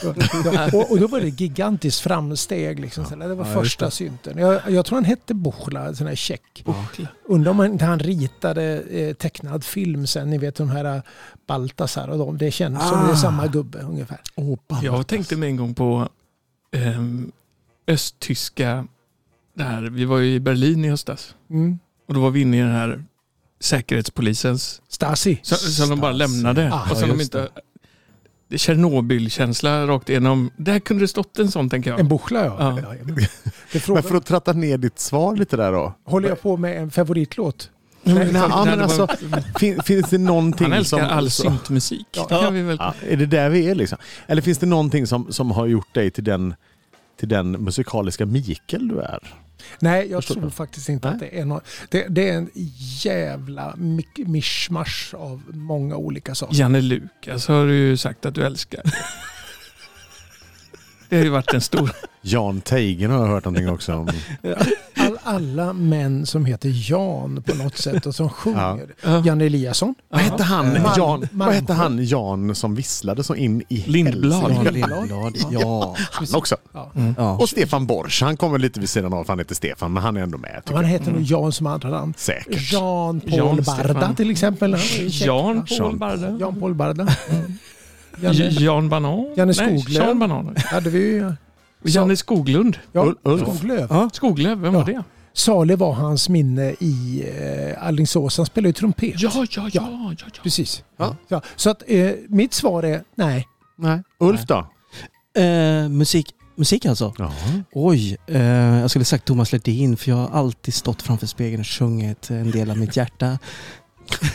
S4: Ja, och, och då var det gigantiskt framsteg. Liksom. Så där, Det var
S3: Ja, just
S4: första
S3: det.
S4: synten. Jag, jag tror han hette Buchla, en sån här tjeck.
S2: Buchla.
S4: Undrar om inte han ritade eh, tecknad film sen. Ni vet de här eh, Baltasar och de. Det känns som det
S3: Ah.
S4: är samma gubbe ungefär.
S3: Oh.
S2: Jag tänkte mig en gång på ehm, östtyska. Där. Vi var ju i Berlin i höstas.
S4: Mm.
S2: Och då var vi inne i den här säkerhetspolisens.
S4: Stasi.
S2: Som, som de bara
S1: Stas-
S2: lämnade.
S4: Ah,
S2: och som de
S4: just
S2: inte... Det är Tjernobyl-känsla rakt igenom. Där kunde det stått en sån tänker jag.
S4: En Buchla ja.
S2: Ja.
S4: ja. men- det frågar,
S1: Men för att tratta ner ditt svar lite där då.
S4: Håller jag på med en favoritlåt?
S1: Nej,
S2: exakt.
S1: ja, men alltså,
S2: det var-
S1: Fin, finns det någonting
S2: han älskar
S1: som...
S2: all
S1: så-
S2: syntmusik.
S4: Ja.
S2: Det kan vi väl...
S1: Ja, är det där vi är liksom? Eller finns det någonting som, som har gjort dig till den, till den musikaliska Mikael du är?
S4: Nej, jag
S1: Förstår
S4: tror
S1: du?
S4: faktiskt inte
S1: Nej.
S4: att det är något. Det, det är en jävla mick- mischmasch av många olika saker.
S2: Janne Lukas har du ju sagt att du älskar. Det har ju varit en stor...
S1: Jan Teigen har jag hört någonting också om.
S4: All, alla män som heter Jan på något sätt och som sjunger. Jan Eliasson.
S1: Vad hette han,
S4: Malm-
S1: Jan,
S4: Malmsjö.
S1: vad hette han Jan som visslade så in i
S2: Lindblad.
S1: helsike?
S3: Ja, Lindblad. Ja.
S1: Han också.
S4: Ja.
S3: ja.
S1: Och Stefan Borsch, han kommer lite vid sidan av, han heter Stefan, men han är ändå med. Tycker
S4: Han heter nog Jan som andra namn.
S1: jag. Säkert.
S4: Jan Paul
S2: Jan
S4: Barda
S2: Stefan.
S4: till exempel. Han var ju käck,
S2: Jan
S4: va?
S1: Jean-
S2: Paul Barda.
S4: Jan Paul Barda. Janne,
S2: J- Jan Banan.
S4: Janne
S2: Nej,
S4: Skoglund.
S2: Jan Banan.
S4: hade vi ju.
S2: Janne Skoglund.
S4: Ja,
S1: Ul- Ulf.
S4: Skoglöf.
S2: Skoglöf, vem var det?
S4: Saleh var hans minne i eh, Alingsås. Han spelade ju trumpet.
S2: Ja, ja, ja. ja, Liksom. ja.
S4: Precis.
S1: Ja.
S4: Ja, så att eh, mitt svar är nej.
S1: Nej. Ulf då?
S3: Eh, musik. Musik alltså? Oj, eh, jag skulle sagt Thomas Ledin för jag har alltid stått framför spegeln och sjungit en del av mitt hjärta.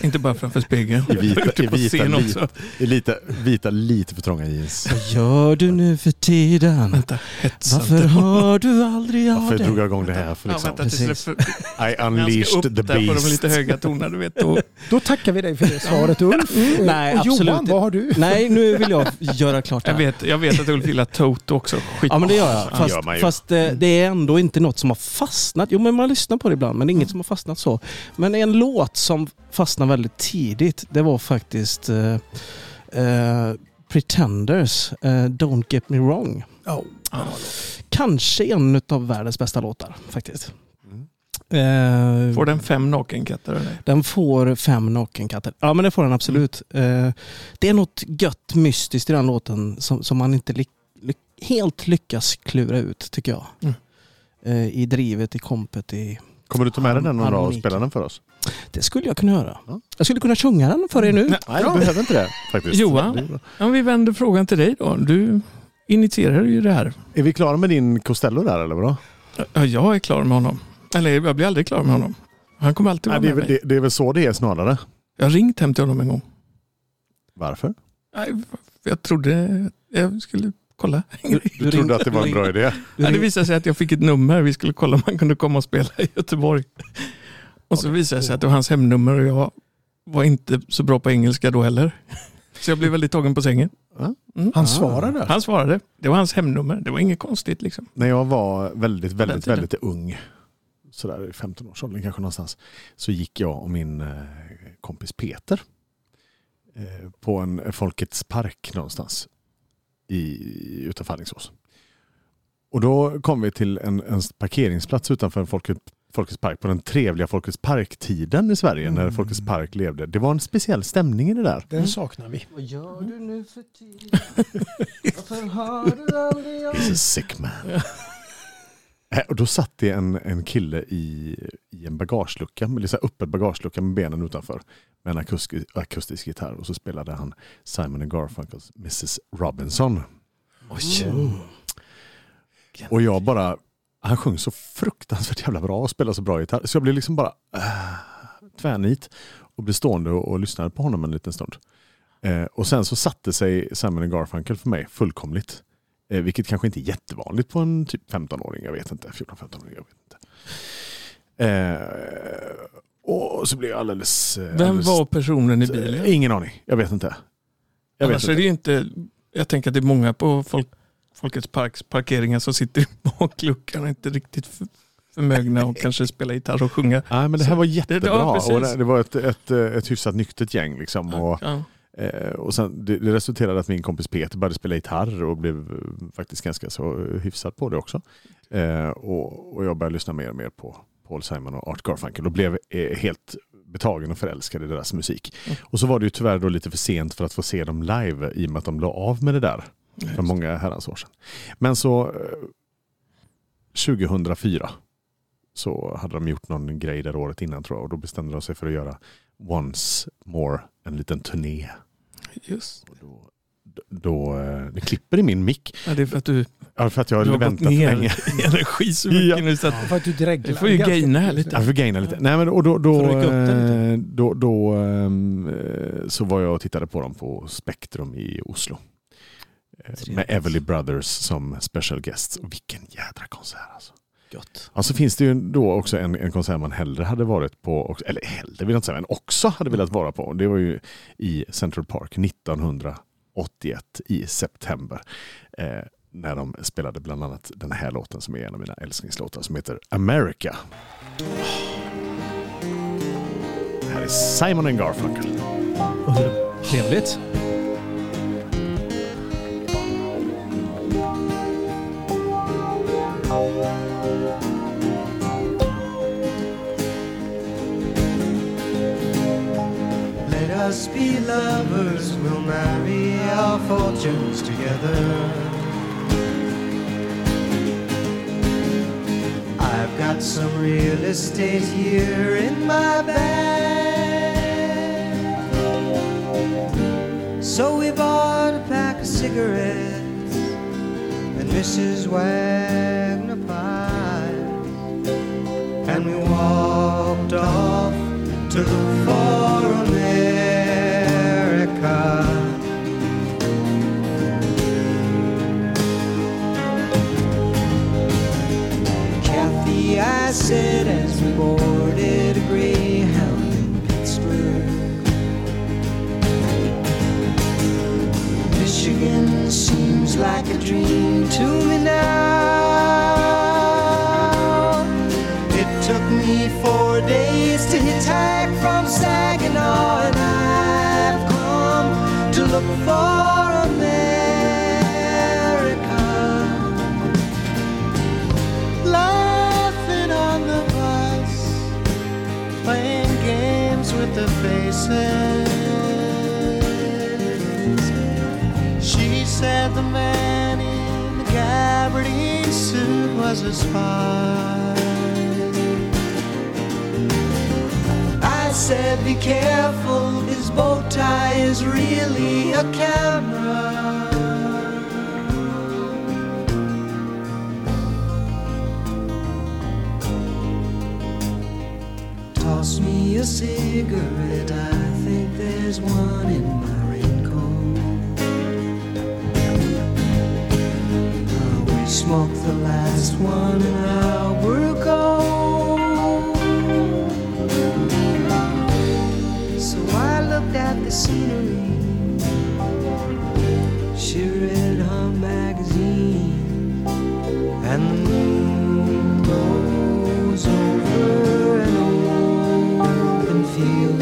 S2: Inte bara framför spegeln.
S1: I vita, i
S2: På
S1: vita,
S2: scen
S1: li,
S2: också.
S1: i lite, vita lite för trånga jeans.
S3: Vad gör du nu för tiden?
S2: Vänta, hetsa
S3: Varför
S2: inte.
S3: hör du aldrig av
S1: Varför drog
S3: dig?
S1: jag igång det här? För
S2: Ja,
S1: liksom,
S2: vänta tills det
S3: Precis.
S2: för...
S1: I
S2: när han ska
S1: unleashed
S2: upp
S1: the
S2: där på de
S1: beast.
S2: lite höga tonerna, du vet. Då...
S4: Då tackar vi dig för det svaret Ulf. Eh,
S3: Nej,
S4: och Johan,
S3: absolut.
S4: vad har du?
S3: Nej, nu vill jag göra klart det
S2: Jag,
S3: här.
S2: vet, jag vet att Ulf gillar Toto också. Skit.
S3: Ja men det gör jag. Fast,
S1: gör man ju.
S3: fast eh,
S2: Mm.
S3: det är ändå inte något som har fastnat. Jo men man lyssnar på det ibland men det är
S2: Mm.
S3: inget som har fastnat så. Men en låt som fastnade väldigt tidigt det var faktiskt eh, eh, Pretenders, eh, Don't Get Me Wrong.
S4: Ja.
S3: Kanske en av världens bästa låtar faktiskt.
S1: Mm.
S3: Eh,
S2: Får den fem nakenkatter eller?
S3: den får fem nakenkatter. Ja, men det får den absolut.
S2: Mm.
S3: Eh, det är något gött mystiskt i den låten som, som man inte ly- ly- helt lyckas klura ut, tycker jag.
S2: Mm.
S3: Eh, I drivet, i kompet, i...
S1: Kommer du ta med dig den någon dag och
S3: Harmonik.
S1: spela den för oss?
S3: Det skulle jag kunna göra.
S1: Ja.
S3: Jag skulle kunna sjunga den för er nu.
S2: Mm.
S1: Nej, du behöver inte det faktiskt.
S2: Johan?
S1: Det är bra.
S2: Ja, men vi vänder frågan till dig då. Du initierar ju det här.
S1: Är vi klara med din Costello där eller vadå?
S2: Ja, jag är klar med honom. Eller jag blir aldrig klar med honom. Han kommer alltid
S1: Nej,
S2: vara
S1: det, är
S2: med
S1: väl,
S2: mig.
S1: det, det är väl så det är snarare.
S2: Jag har ringt hem till honom en gång.
S1: Varför?
S2: Nej, för jag trodde jag skulle kolla.
S1: Du, trodde att det var en bra idé.
S2: Ja, det visade sig att jag fick ett nummer. Vi skulle kolla om han kunde komma och spela i Göteborg. Och så visade det sig att det var hans hemnummer och jag var inte så bra på engelska då heller. Så jag blev väldigt tagen på sängen.
S4: Han svarade.
S2: Han svarade. Det var hans hemnummer. Det var inget konstigt liksom.
S1: När jag var väldigt, väldigt,
S2: tiden.
S1: väldigt ung, sådär i 15-årsåldern kanske någonstans, så gick jag och min eh, kompis Peter eh, eh, på en Folkets park någonstans i, utanför Alingsås. Och då kom vi till en, en parkeringsplats utanför en Folket, Folkets park på den trevliga Folkets park-tiden i Sverige när Folkets park levde. Det var en speciell stämning i det där.
S2: Mm.
S4: Den saknar vi.
S3: Vad gör du nu för tiden? Varför hör du aldrig av
S1: He's a sick man. Äh, Och då satt det en, en kille i, i en bagagelucka, eller så här öppen bagagelucka med benen utanför. Med en akustisk, akustisk gitarr och så spelade han Simon and Garfunkels Mrs Robinson.
S3: Mm.
S1: Och jag bara, han sjöng så fruktansvärt jävla bra och spelade så bra gitarr. Så jag blev liksom bara äh, tvärnit och blev stående och, och lyssnade på honom en liten stund. Eh, och sen så satte sig Simon and Garfunkel för mig fullkomligt. Eh, vilket kanske inte är jättevanligt på en typ 15-åring, jag vet inte. 14-15-åring, jag vet inte. Eh, och så blev jag alldeles... eh,
S2: Vem
S1: alldeles,
S2: var personen i bilen?
S1: Eh, Ingen aning, jag vet inte. Jag vet
S2: Annars
S1: inte.
S2: är det ju inte, jag tänker att det är många på folk, Folkets parks parkeringar som sitter i bakluckan och inte riktigt för- förmögna och kanske spela gitarr och sjunga.
S1: Nej, men det här var jättebra.
S2: ja, precis.
S1: och det, det var ett, ett, eh, ett hyfsat nyktert gäng. Liksom, och,
S2: Ja.
S1: Eh, och sen, det, det resulterade att min kompis Peter började spela gitarr och blev eh, faktiskt ganska så hyfsad på det också. Eh, och, och jag började lyssna mer och mer på Paul Simon och Art Garfunkel och blev eh, helt betagen och förälskad i deras musik. Och så var det ju tyvärr då lite för sent för att få se dem live i och med att de la av med det där för många herrans år sedan. Men så eh, 2004 så hade de gjort någon grej där året innan tror jag och då bestämde de sig för att göra Once More, en liten turné.
S2: Just.
S1: Och då, d- då, eh, det klipper i min mick.
S2: Ja, det är för att du,
S1: Ja, för att jag
S2: du har gått
S1: väntar för
S2: ner
S1: länge.
S2: i energi så mycket
S1: Ja.
S2: nu så att
S4: För att du dreglar.
S2: Du får ju
S4: Ganska-
S2: gaina här lite.
S1: Jag får gaina lite. Nej, men, och då, då,
S2: Får du rycka upp den
S1: eh,
S2: lite?
S1: då, då eh, så var jag och tittade på dem på Spektrum i Oslo. Eh,
S3: Trevligt.
S1: Med Everly Brothers som special guests. Och vilken jädra konsert alltså.
S3: Gott.
S1: Ja, så finns det ju då också en, en konsert man hellre hade varit på, och- eller hellre vill jag inte säga, men också hade velat vara på. Det var ju i Central Park 1981 i september. Eh, när de spelade bland annat den här låten som är en av mina älsklingslåtar som heter America. Det här är Simon and Garfunkel.
S3: Trevligt.
S5: Let us be lovers, we'll marry our fortunes together. I've got some real estate here in my bag. So we bought a pack of cigarettes and Mrs. Wagner pies. And we walked off to look for America. Kathy, I said as we boarded a Greyhound in Pittsburgh. Michigan seems like a dream to me now. It took me four days to hitchhike from Saginaw, and I've come to look for America. Laughing on the bus, playing games with the faces. She said the man in the gabardine suit was a spy. I said, be careful, his bow tie is really a camera. Toss me a cigarette, I think there's one in my raincoat. Uh, We smoked the last one an hour ago. So I looked at the scenery. She read her magazine, and the moon rose over an open field.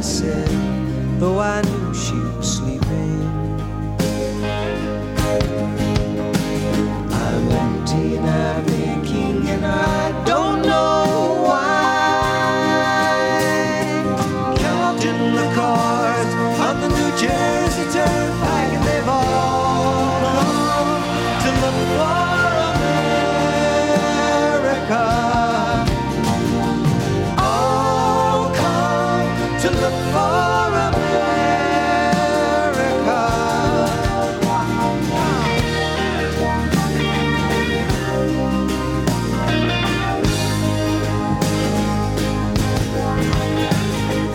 S6: said, though I knew she was sleeping. I'm empty and I'm aching and I don't know why. Counting the cars on the New Jersey Turnpike and they've all along to look for America all come to look for America.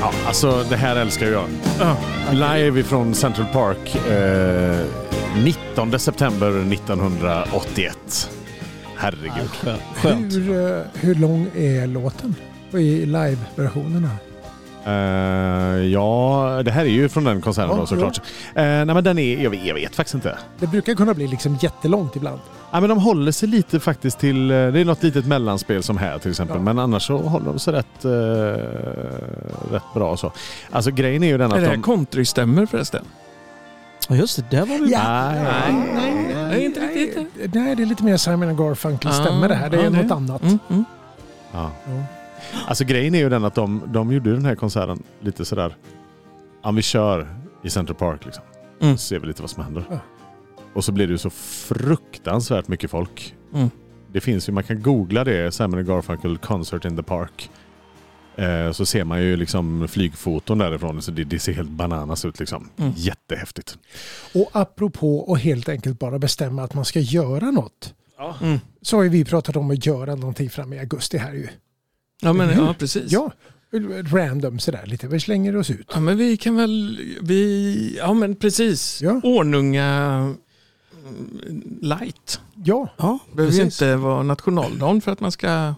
S1: Ja, alltså det här älskar jag. Live ifrån Central Park eh, 19 september 1981. Herregud.
S3: Skönt. Skönt.
S4: Hur, eh, hur lång är låten i live-versionen? här?
S1: Eh, ja, det här är ju från den konserten
S4: Ja,
S1: då såklart. Eh, nej men den är, jag vet, jag vet faktiskt inte.
S4: Det brukar kunna bli liksom jättelångt ibland.
S1: Ja, men de håller sig lite faktiskt till, eh, det är något litet mellanspel som här till exempel.
S4: Ja.
S1: Men annars så håller de sig rätt, eh, rätt bra så. Alltså grejen är ju den
S2: Är
S1: att
S2: det här
S1: de...
S2: countrystämmer förresten?
S3: Ja, just det. Där var vi.
S1: Nej, nej.
S2: Nej, inte riktigt.
S4: Nej, det är lite mer Simon and Garfunkel stämmer det här. Det är
S2: Ah,
S4: något
S2: nej.
S4: annat.
S2: Mm, mm.
S1: Ja.
S4: Ja.
S1: Alltså grejen är ju den att de, de gjorde den här konserten lite sådär, ja vi kör i Central Park liksom.
S2: Mm.
S1: Så ser vi lite vad som händer.
S4: Ja.
S1: Och så blir det ju så fruktansvärt mycket folk.
S2: Mm.
S1: Det finns ju, man kan googla det, Simon and Garfunkel Concert in the Park. Eh, så ser man ju liksom flygfoton därifrån, så det, det ser helt bananas ut liksom.
S2: Mm.
S1: Jättehäftigt.
S4: Och apropå att helt enkelt bara bestämma att man ska göra något.
S2: Mm.
S4: Så har ju vi pratat om att göra någonting fram i augusti här ju.
S2: Ja, men,
S4: Mm.
S2: ja, precis.
S4: Ja, random sådär lite. Vi slänger oss ut.
S2: Ja, men vi kan väl... Vi, ja, men precis.
S4: Ja.
S2: Ordnunga mm, light.
S4: Ja,
S3: Ja,
S2: behöver ju
S3: precis.
S2: inte vara nationaldagen för att man ska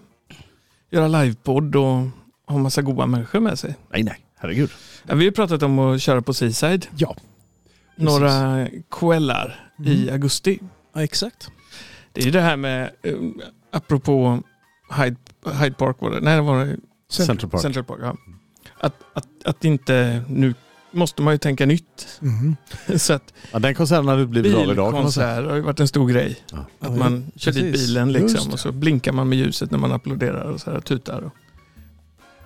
S2: göra livepodd och ha massa goda människor med sig.
S1: Nej, nej. Herregud.
S2: Ja, vi har ju pratat om att köra på Seaside
S4: ja.
S2: några kvällar i
S1: Mm.
S2: augusti.
S3: Ja, exakt.
S2: Det är ju det här med, eh, apropå Hyde, Hyde Park var det, nej det var det
S4: Sen-
S1: Central Park.
S2: Central Park. Ja. Att, att, att inte, nu måste man ju tänka nytt.
S4: Mhm.
S2: Så att
S1: Ja, den konserten hade blivit av idag kan man säga.
S2: bilkonsert har ju varit en stor grej.
S3: Ja,
S2: Att man kör dit
S3: precis.
S2: bilen
S4: Just
S2: liksom
S4: det.
S2: och så blinkar man med ljuset när man applåderar och så här tutar. Och.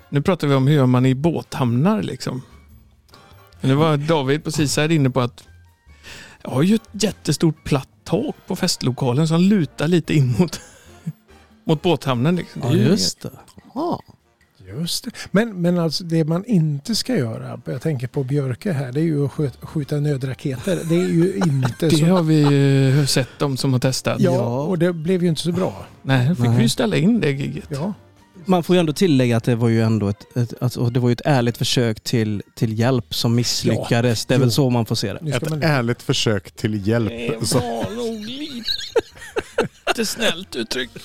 S2: Nu pratar vi om hur gör man i båthamnar liksom. Men Nu var David på Seaside inne på att jag har ju ett jättestort platt tak på festlokalen som lutar lite in mot, mot båthamnen. Liksom. Det
S3: Ja,
S2: är ju
S3: just det.
S1: Ja.
S4: Just det. Men, men alltså det man inte ska göra, jag tänker på Björke här, det är ju att skjuta, skjuta nödraketer. Det är ju inte
S2: inget- Det
S4: så...
S2: har vi ju sett de som har testat.
S4: Ja, och det blev ju inte så bra.
S2: Nej, då fick vi
S3: Nej.
S2: ju ställa in det giget.
S4: Ja.
S3: Man får ju ändå tillägga att det var ju ändå ett, ett, alltså, det var ju ett ärligt försök till, till hjälp som misslyckades. det är väl
S4: Jo.
S3: så man får se det.
S4: Nu ska
S1: Ett
S4: man...
S1: ärligt försök till hjälp. Så,
S2: var nog lite snällt uttryckt.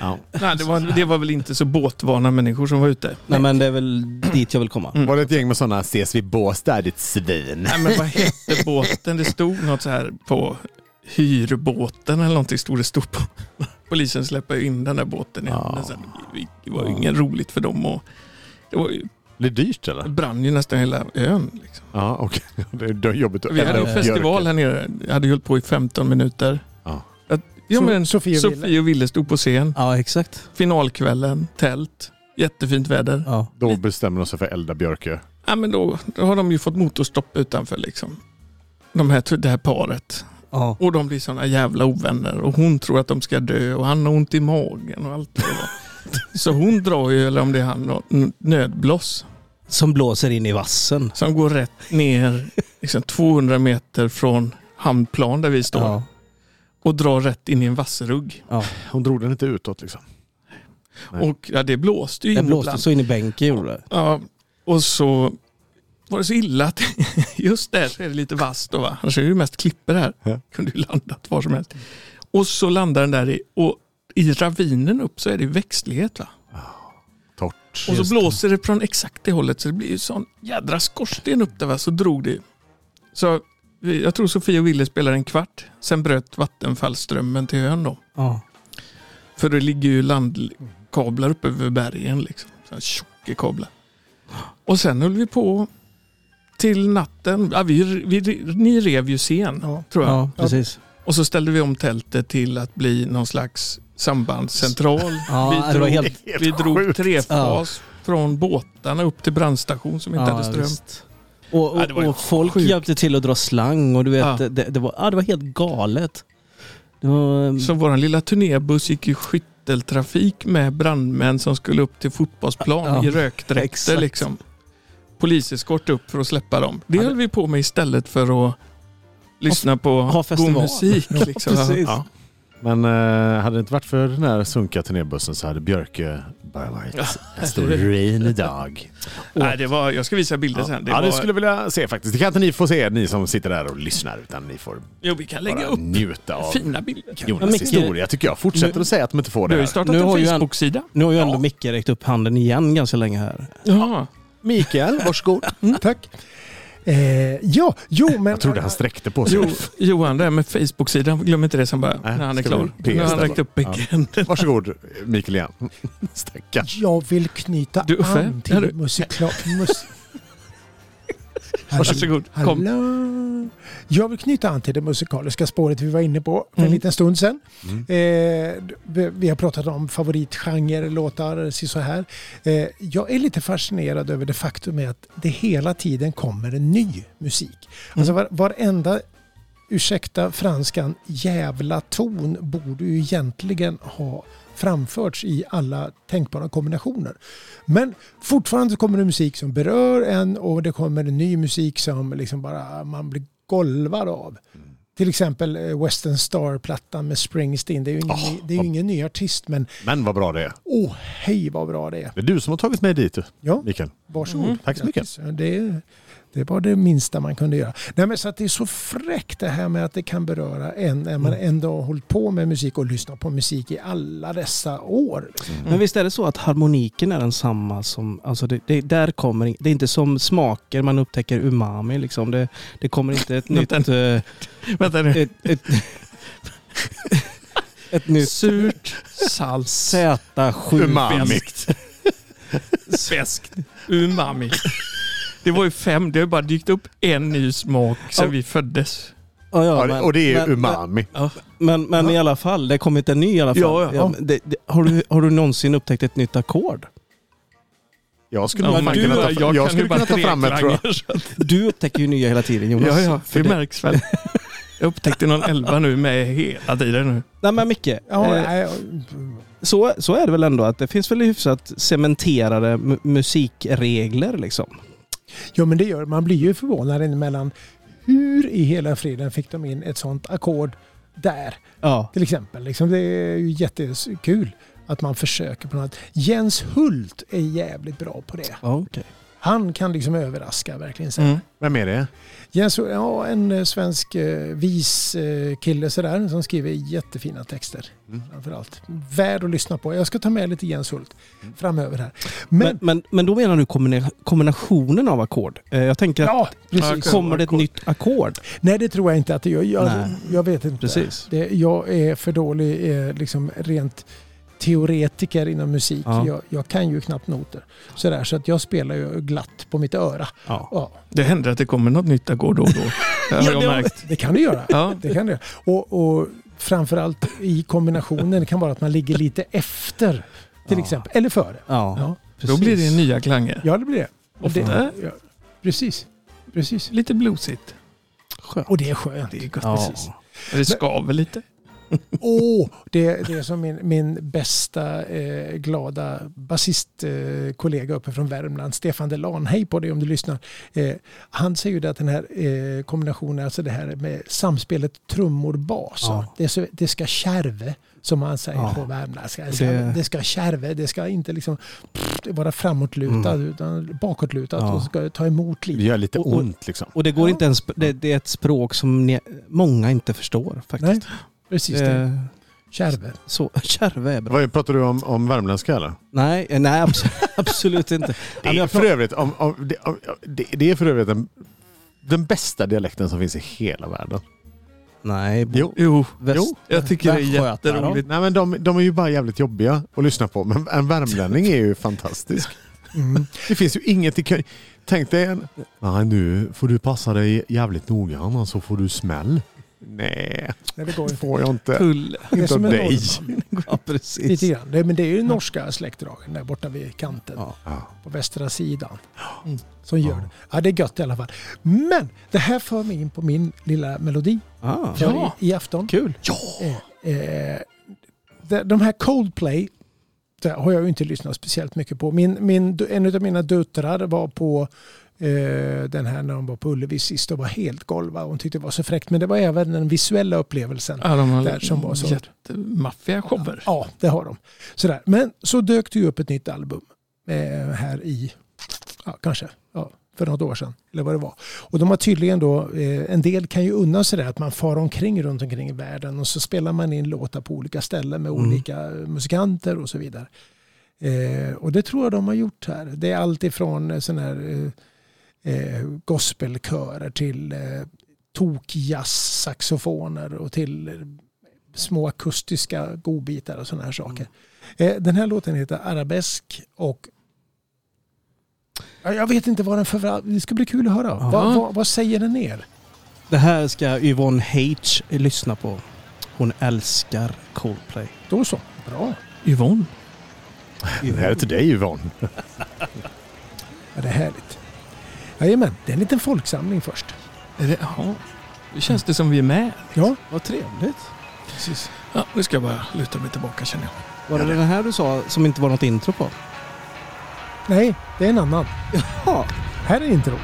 S1: ja.
S2: Nej, det var, det var väl inte så båtvana människor som var ute.
S3: Nej, men det är väl dit jag vill
S2: Mm.
S3: komma.
S1: Mm. Var det ett gäng med sådana “ses vid Båstad ditt svin”?
S2: Nej, men vad hette båten? Det stod något så här på hyrbåten eller någonting. Stod det stort på. Polisen släpper ju in den där båten i
S1: Ja.
S2: hamnen sen. Det var ju inget roligt för dem. Och det, var, ju-
S1: Blir det dyrt
S2: det
S1: eller?
S2: brann ju nästan hela ön. Liksom.
S1: Ja, okej. Det är då jobbigt att
S2: Vi hade
S1: elda
S2: ju
S1: upp
S2: festival
S1: björken.
S2: här nere. Jag hade ju hållit på i 15 minuter.
S1: Ja.
S2: Att, ja,
S4: So-
S2: men,
S4: Sofie och Ville.
S2: Sofie och Ville stod på scen.
S3: Ja, exakt.
S2: Finalkvällen, tält, jättefint väder.
S3: Ja.
S1: Då bestämmer de sig för att elda björke.
S2: Ja, men då, då har de ju fått motorstopp utanför liksom. De här, det här paret.
S3: Ja.
S2: Och de blir såna jävla ovänner och hon tror att de ska dö och han har ont i magen och allt vad det var. Så hon drar ju, eller om det är han, då, n- nödblås
S3: Som blåser in i vassen.
S2: som går rätt ner liksom 200 meter från hamnplan där vi står
S3: Ja.
S2: och drar rätt in i en vassrugg.
S1: Hon drog den inte utåt liksom. Nej.
S2: Och ja, det blåste ju
S3: Det
S2: in
S3: blåste
S2: ibland.
S3: så in i bänken gjorde det.
S2: Ja, och så var det så illa att just där så är det lite vasst då va. Annars är det ju mest klipper här.
S1: Ja.
S2: Kunde ju landat var som helst. Och så landar den där i, och i ravinen upp så är det växtlighet va.
S1: Torrt.
S2: Och så blåser det från exakt det hållet så det blir ju sån jädra skorsten upp där va. Så drog det ju. Så vi- jag tror Sofia och Wille spelade en kvart. Sen bröt vattenfallsströmmen till ön då.
S3: Ja.
S2: För det ligger ju landkablar uppe över bergen liksom. Så här tjocka kablar. Och sen höll vi på till natten. Ja, vi, vi, ni rev ju scen,
S4: Ja.
S2: tror jag.
S3: Ja, precis.
S2: Och så ställde vi om tältet till att bli någon slags sambandscentral.
S3: Ja,
S2: vi
S3: det var
S2: drog,
S3: helt-
S2: vi
S1: Helt
S2: drog
S1: sjukt.
S2: trefas från båtarna upp till brandstation som inte
S3: Ja,
S2: hade ström.
S3: visst. Och, och,
S2: Ja, det var ju
S3: och folk
S2: sjukt.
S3: hjälpte till att dra slang och du vet,
S2: Ja.
S3: det, det, var, ja, det var helt galet. Det var,
S2: Så vår lilla turnébuss gick i skytteltrafik med brandmän som skulle upp till fotbollsplan
S3: Ja,
S2: i rökdräkter.
S3: exakt.
S2: Liksom. Poliseskort upp för att släppa dem. Det höll vi på med istället för att lyssna på
S3: ha
S2: god
S3: festival.
S2: musik. Liksom.
S3: precis.
S2: Ja.
S1: Men eh, hade det inte varit för den här sunkiga turnébussen så hade Björke bara varit en stor regnig dag.
S2: Nej, det var, jag ska visa bilder sen. Det
S1: ja,
S2: var,
S1: det skulle jag vilja se faktiskt. Det kan inte ni få se, ni som sitter där och lyssnar, utan ni får
S2: Jo, vi kan lägga
S1: bara
S2: upp
S1: njuta av
S2: fina bilder.
S1: Jonas
S3: Men Micke-
S1: historia tycker jag. Fortsätter att säga att de inte får
S2: Du
S1: det
S2: har
S1: här.
S2: ju startat
S3: Nu har ju
S2: en
S3: en-
S2: Facebook-sida.
S3: nu har ju ändå Micke räckt upp handen igen ganska länge här.
S2: Ja.
S1: Mikael, varsågod.
S4: Tack. Eh, ja, jo men...
S1: Jag trodde han sträckte på sig.
S2: Jo, Johan, det här med Facebook-sidan, glöm inte det sen bara. när han är
S1: ska
S2: klar.
S1: vi-
S2: Nu har han
S1: PS
S2: räckt upp bägge händerna.
S1: Varsågod Mikael igen. Stackars.
S4: Jag vill knyta
S2: Du, Uffe,
S4: an
S2: är
S4: till
S2: du-
S4: musikla... Mus...
S2: Varsågod,
S4: Hallå.
S2: kom.
S4: Jag vill knyta an till det musikaliska spåret vi var inne på för en
S2: Mm.
S4: liten stund sedan.
S1: Mm.
S4: Eh, vi- vi har pratat om favoritgenre, låtar, si så här. Eh, jag är lite fascinerad över det faktum är att det hela tiden kommer en ny musik. Alltså var, varenda, ursäkta franskan, jävla ton borde ju egentligen ha framförts i alla tänkbara kombinationer. Men fortfarande så kommer det musik som berör en och det kommer en ny musik som liksom bara man blir golvad av. Till exempel eh, Western Star-plattan med Springsteen. Det är ju ingen,
S1: Ah,
S4: det är
S1: vad-
S4: ju ingen ny artist men
S1: Men vad bra det är.
S4: åh hej vad bra det är.
S1: Det är du som har tagit mig dit,
S4: Ja.
S1: Mikael.
S4: Varsågod.
S1: Mm, tack så mycket.
S4: Grattis. Ja, Det, det var det minsta man kunde göra. Nej, men så att det är så fräckt det här med att det kan beröra en när man
S1: Mm.
S4: ändå har hållit på med musik och lyssnat på musik i alla dessa år.
S3: Men visst är det så att harmoniken är densamma som, alltså det, det, där kommer, in- det är inte som smaker man upptäcker umami liksom. Det, det kommer inte ett nytt...
S2: Vänta.
S3: eh,
S2: Vänta nu.
S3: ett, ett, ett nytt
S2: Surt, salt,
S3: Z7.
S1: Umami.
S2: Svenskt. Umami. Det var ju fem, det har ju bara dykt upp en ny smak sen
S3: Ja.
S2: vi föddes.
S3: Ja, ja,
S1: Ja,
S3: men-
S1: och det är
S3: men-
S1: umami.
S3: Men, men i alla fall, det kommer inte en ny i alla fall.
S2: Ja, ja.
S3: men det, det, har, du, har du någonsin upptäckt ett nytt ackord?
S1: Jag skulle
S2: Ja,
S1: nog
S2: men
S1: fan
S2: du,
S1: kunna ta,
S2: jag
S1: jag
S2: kan
S1: skulle
S2: ju bara
S1: kunna ta fram ett tror jag.
S2: treklanger, så att-
S3: Du upptäcker ju nya hela tiden Jonas.
S2: Ja, ja,
S3: För
S2: det
S3: det,
S2: märks väl. Jag upptäckte någon elva nu med hela tiden nu.
S3: nej men Micke,
S4: Ja,
S3: eh,
S4: nej,
S3: så, så är det väl ändå att det finns väl hyfsat cementerade mu- musikregler liksom.
S4: ja, men det gör man blir ju förvånad emellan. Hur i hela friden fick de in ett sånt ackord där?
S3: Ja,
S4: Till exempel. Liksom, det är ju jättekul att man försöker på något. Jens Hult är jävligt bra på det.
S3: ja okej.
S4: Han kan liksom överraska verkligen. Så.
S2: Mm.
S1: Vem är det?
S4: Jens, ja, en eh, svensk eh, vis eh, kille sådär som skriver jättefina texter.
S1: Mm.
S4: Framförallt. Värd att lyssna på. Jag ska ta med lite Jens Hult framöver här. Men,
S3: Mm. Men, men, men då menar du kombina- kombinationen av ackord? Eh, Jag tänker att
S4: ja, precis.
S2: okej.
S3: kommer det ett
S2: ackord.
S3: nytt ackord?
S4: Nej, det tror jag inte att det gör. Jag,
S3: Nej.
S4: jag vet inte.
S3: Precis.
S4: Det, jag är för dålig eh, liksom, rent teoretiker inom musik.
S3: Ja.
S4: Jag, jag kan ju knappt noter. Sådär, så att jag spelar ju glatt på mitt öra.
S3: Ja.
S4: Ja,
S2: Det händer att det kommer något nytt ackord då och då. Det har
S3: Ja,
S2: jag
S3: det har-
S2: märkt.
S4: det kan du göra.
S2: Ja.
S4: Det kan det. Och, och framförallt i kombinationen kan vara att man ligger lite efter till
S3: Ja.
S4: exempel. Eller före.
S3: Ja,
S4: Ja.
S3: precis.
S2: Då blir det nya klanger.
S4: ja, det blir det. Och det
S2: Ofta.
S4: ja. Precis. Precis.
S2: Lite bluesigt.
S3: Skönt.
S4: Och det är skönt.
S2: Det är gott.
S3: Ja.
S4: Precis.
S2: Det skaver lite.
S4: Åh, det, det är som min, min bästa eh, glada basistkollega eh, kollega uppe från Värmland, Stefan Delan, hej på dig om du lyssnar. Eh, han säger ju det att den här eh, kombinationen, alltså det här med samspelet trummor-bas,
S3: Ja.
S4: det, är så- det ska kärve som man säger
S3: Ja.
S4: på värmländska.
S3: det-
S4: Det... det ska kärve, det ska inte liksom pff, vara framåtlutad utan bakåtlutat
S3: Mm. Ja.
S4: och ska ta emot
S1: Det
S4: lite.
S1: gör lite
S3: Och- och-
S1: ont liksom.
S3: Och det går
S4: Ja.
S3: inte ens, det, det är ett språk som ni, många inte förstår
S4: Nej,
S3: faktiskt.
S4: precis det.
S3: Eh,
S4: Kärve.
S3: så, kärve är bra.
S1: Vad Pratar du om, om värmländska eller?
S3: Nej, eh, nej absolut, absolut inte.
S1: Det
S3: Ja, men
S1: är
S3: jag
S1: för
S3: pratar-
S1: övrigt, om, om, det, om, det, det är för övrigt den, den bästa dialekten som finns i hela världen.
S3: nej,
S1: Jo.
S2: Jo,
S3: väst,
S1: Jo,
S2: jag tycker det är
S3: Västgötar då?
S2: jätteroligt.
S1: Nej, men de, de är ju bara jävligt jobbiga att lyssna på. Men en värmlänning är ju fantastisk.
S4: Mm.
S1: Det finns ju inget i kö. Tänk dig en... Nej, nu får du passa dig jävligt noga annars så får du smäll. Nej,
S4: Nej, det går
S1: det
S4: ju.
S1: får jag inte.
S3: Pulle.
S4: Det är
S1: Inte av
S4: som en
S1: dig.
S4: norrman,
S3: Ja, precis.
S4: Lite grann. Det, men det är ju norska släktdragen där borta vid kanten.
S3: Ja.
S1: Ja.
S4: på västra sidan. Mm. Som gör det. Ja, det är gött i alla fall. Men det här för mig in på min lilla melodi
S3: Ah,
S4: för
S2: Ja.
S4: i, i afton.
S3: kul.
S4: Eh, de, de här Coldplay det har jag ju inte lyssnat speciellt mycket på. Min, min, en av mina döttrar var på eh, den här när de var på Ullevi sist och var helt golvad. Hon tyckte det var så fräckt. Men det var även den visuella upplevelsen.
S2: Ja, de har
S4: Där som var så.
S2: jättemaffiga shower.
S4: Ja, det har de. Sådär. Men så dök det ju upp ett nytt album eh, här i, ja, kanske, ja, för något år sedan. Eller vad det var. Och de har tydligen då, eh, en del kan ju unna sig det att man far omkring runt omkring i världen och så spelar man in låtar på olika ställen med
S3: Mm.
S4: olika eh, musikanter och så vidare. Eh, och det tror jag de har gjort här. Det är allt ifrån eh, sån här eh, eh, gospelkörer till eh, tokjazz-saxofoner och till eh, små akustiska godbitar och sådana här saker. Eh, den här låten heter Arabesk och Ja, jag vet inte vad den för... Det ska bli kul att höra.
S3: Ja.
S4: Vad, vad, vad säger den er?
S3: Det här ska Yvonne H lyssna på. Hon älskar Coldplay.
S4: Då så. Bra.
S2: Yvonne.
S1: Det här är till dig Yvonne.
S4: Ja, det är härligt. Jajamän, det är en liten folksamling först.
S2: Är det, ja. Nu känns det som vi är med.
S4: Ja,
S3: Vad trevligt.
S4: precis.
S2: Ja, nu ska jag bara luta mig tillbaka känner jag.
S3: Var det den här du sa som inte var något intro på?
S4: Nej, det är en annan.
S3: Ja.
S4: Här är intro.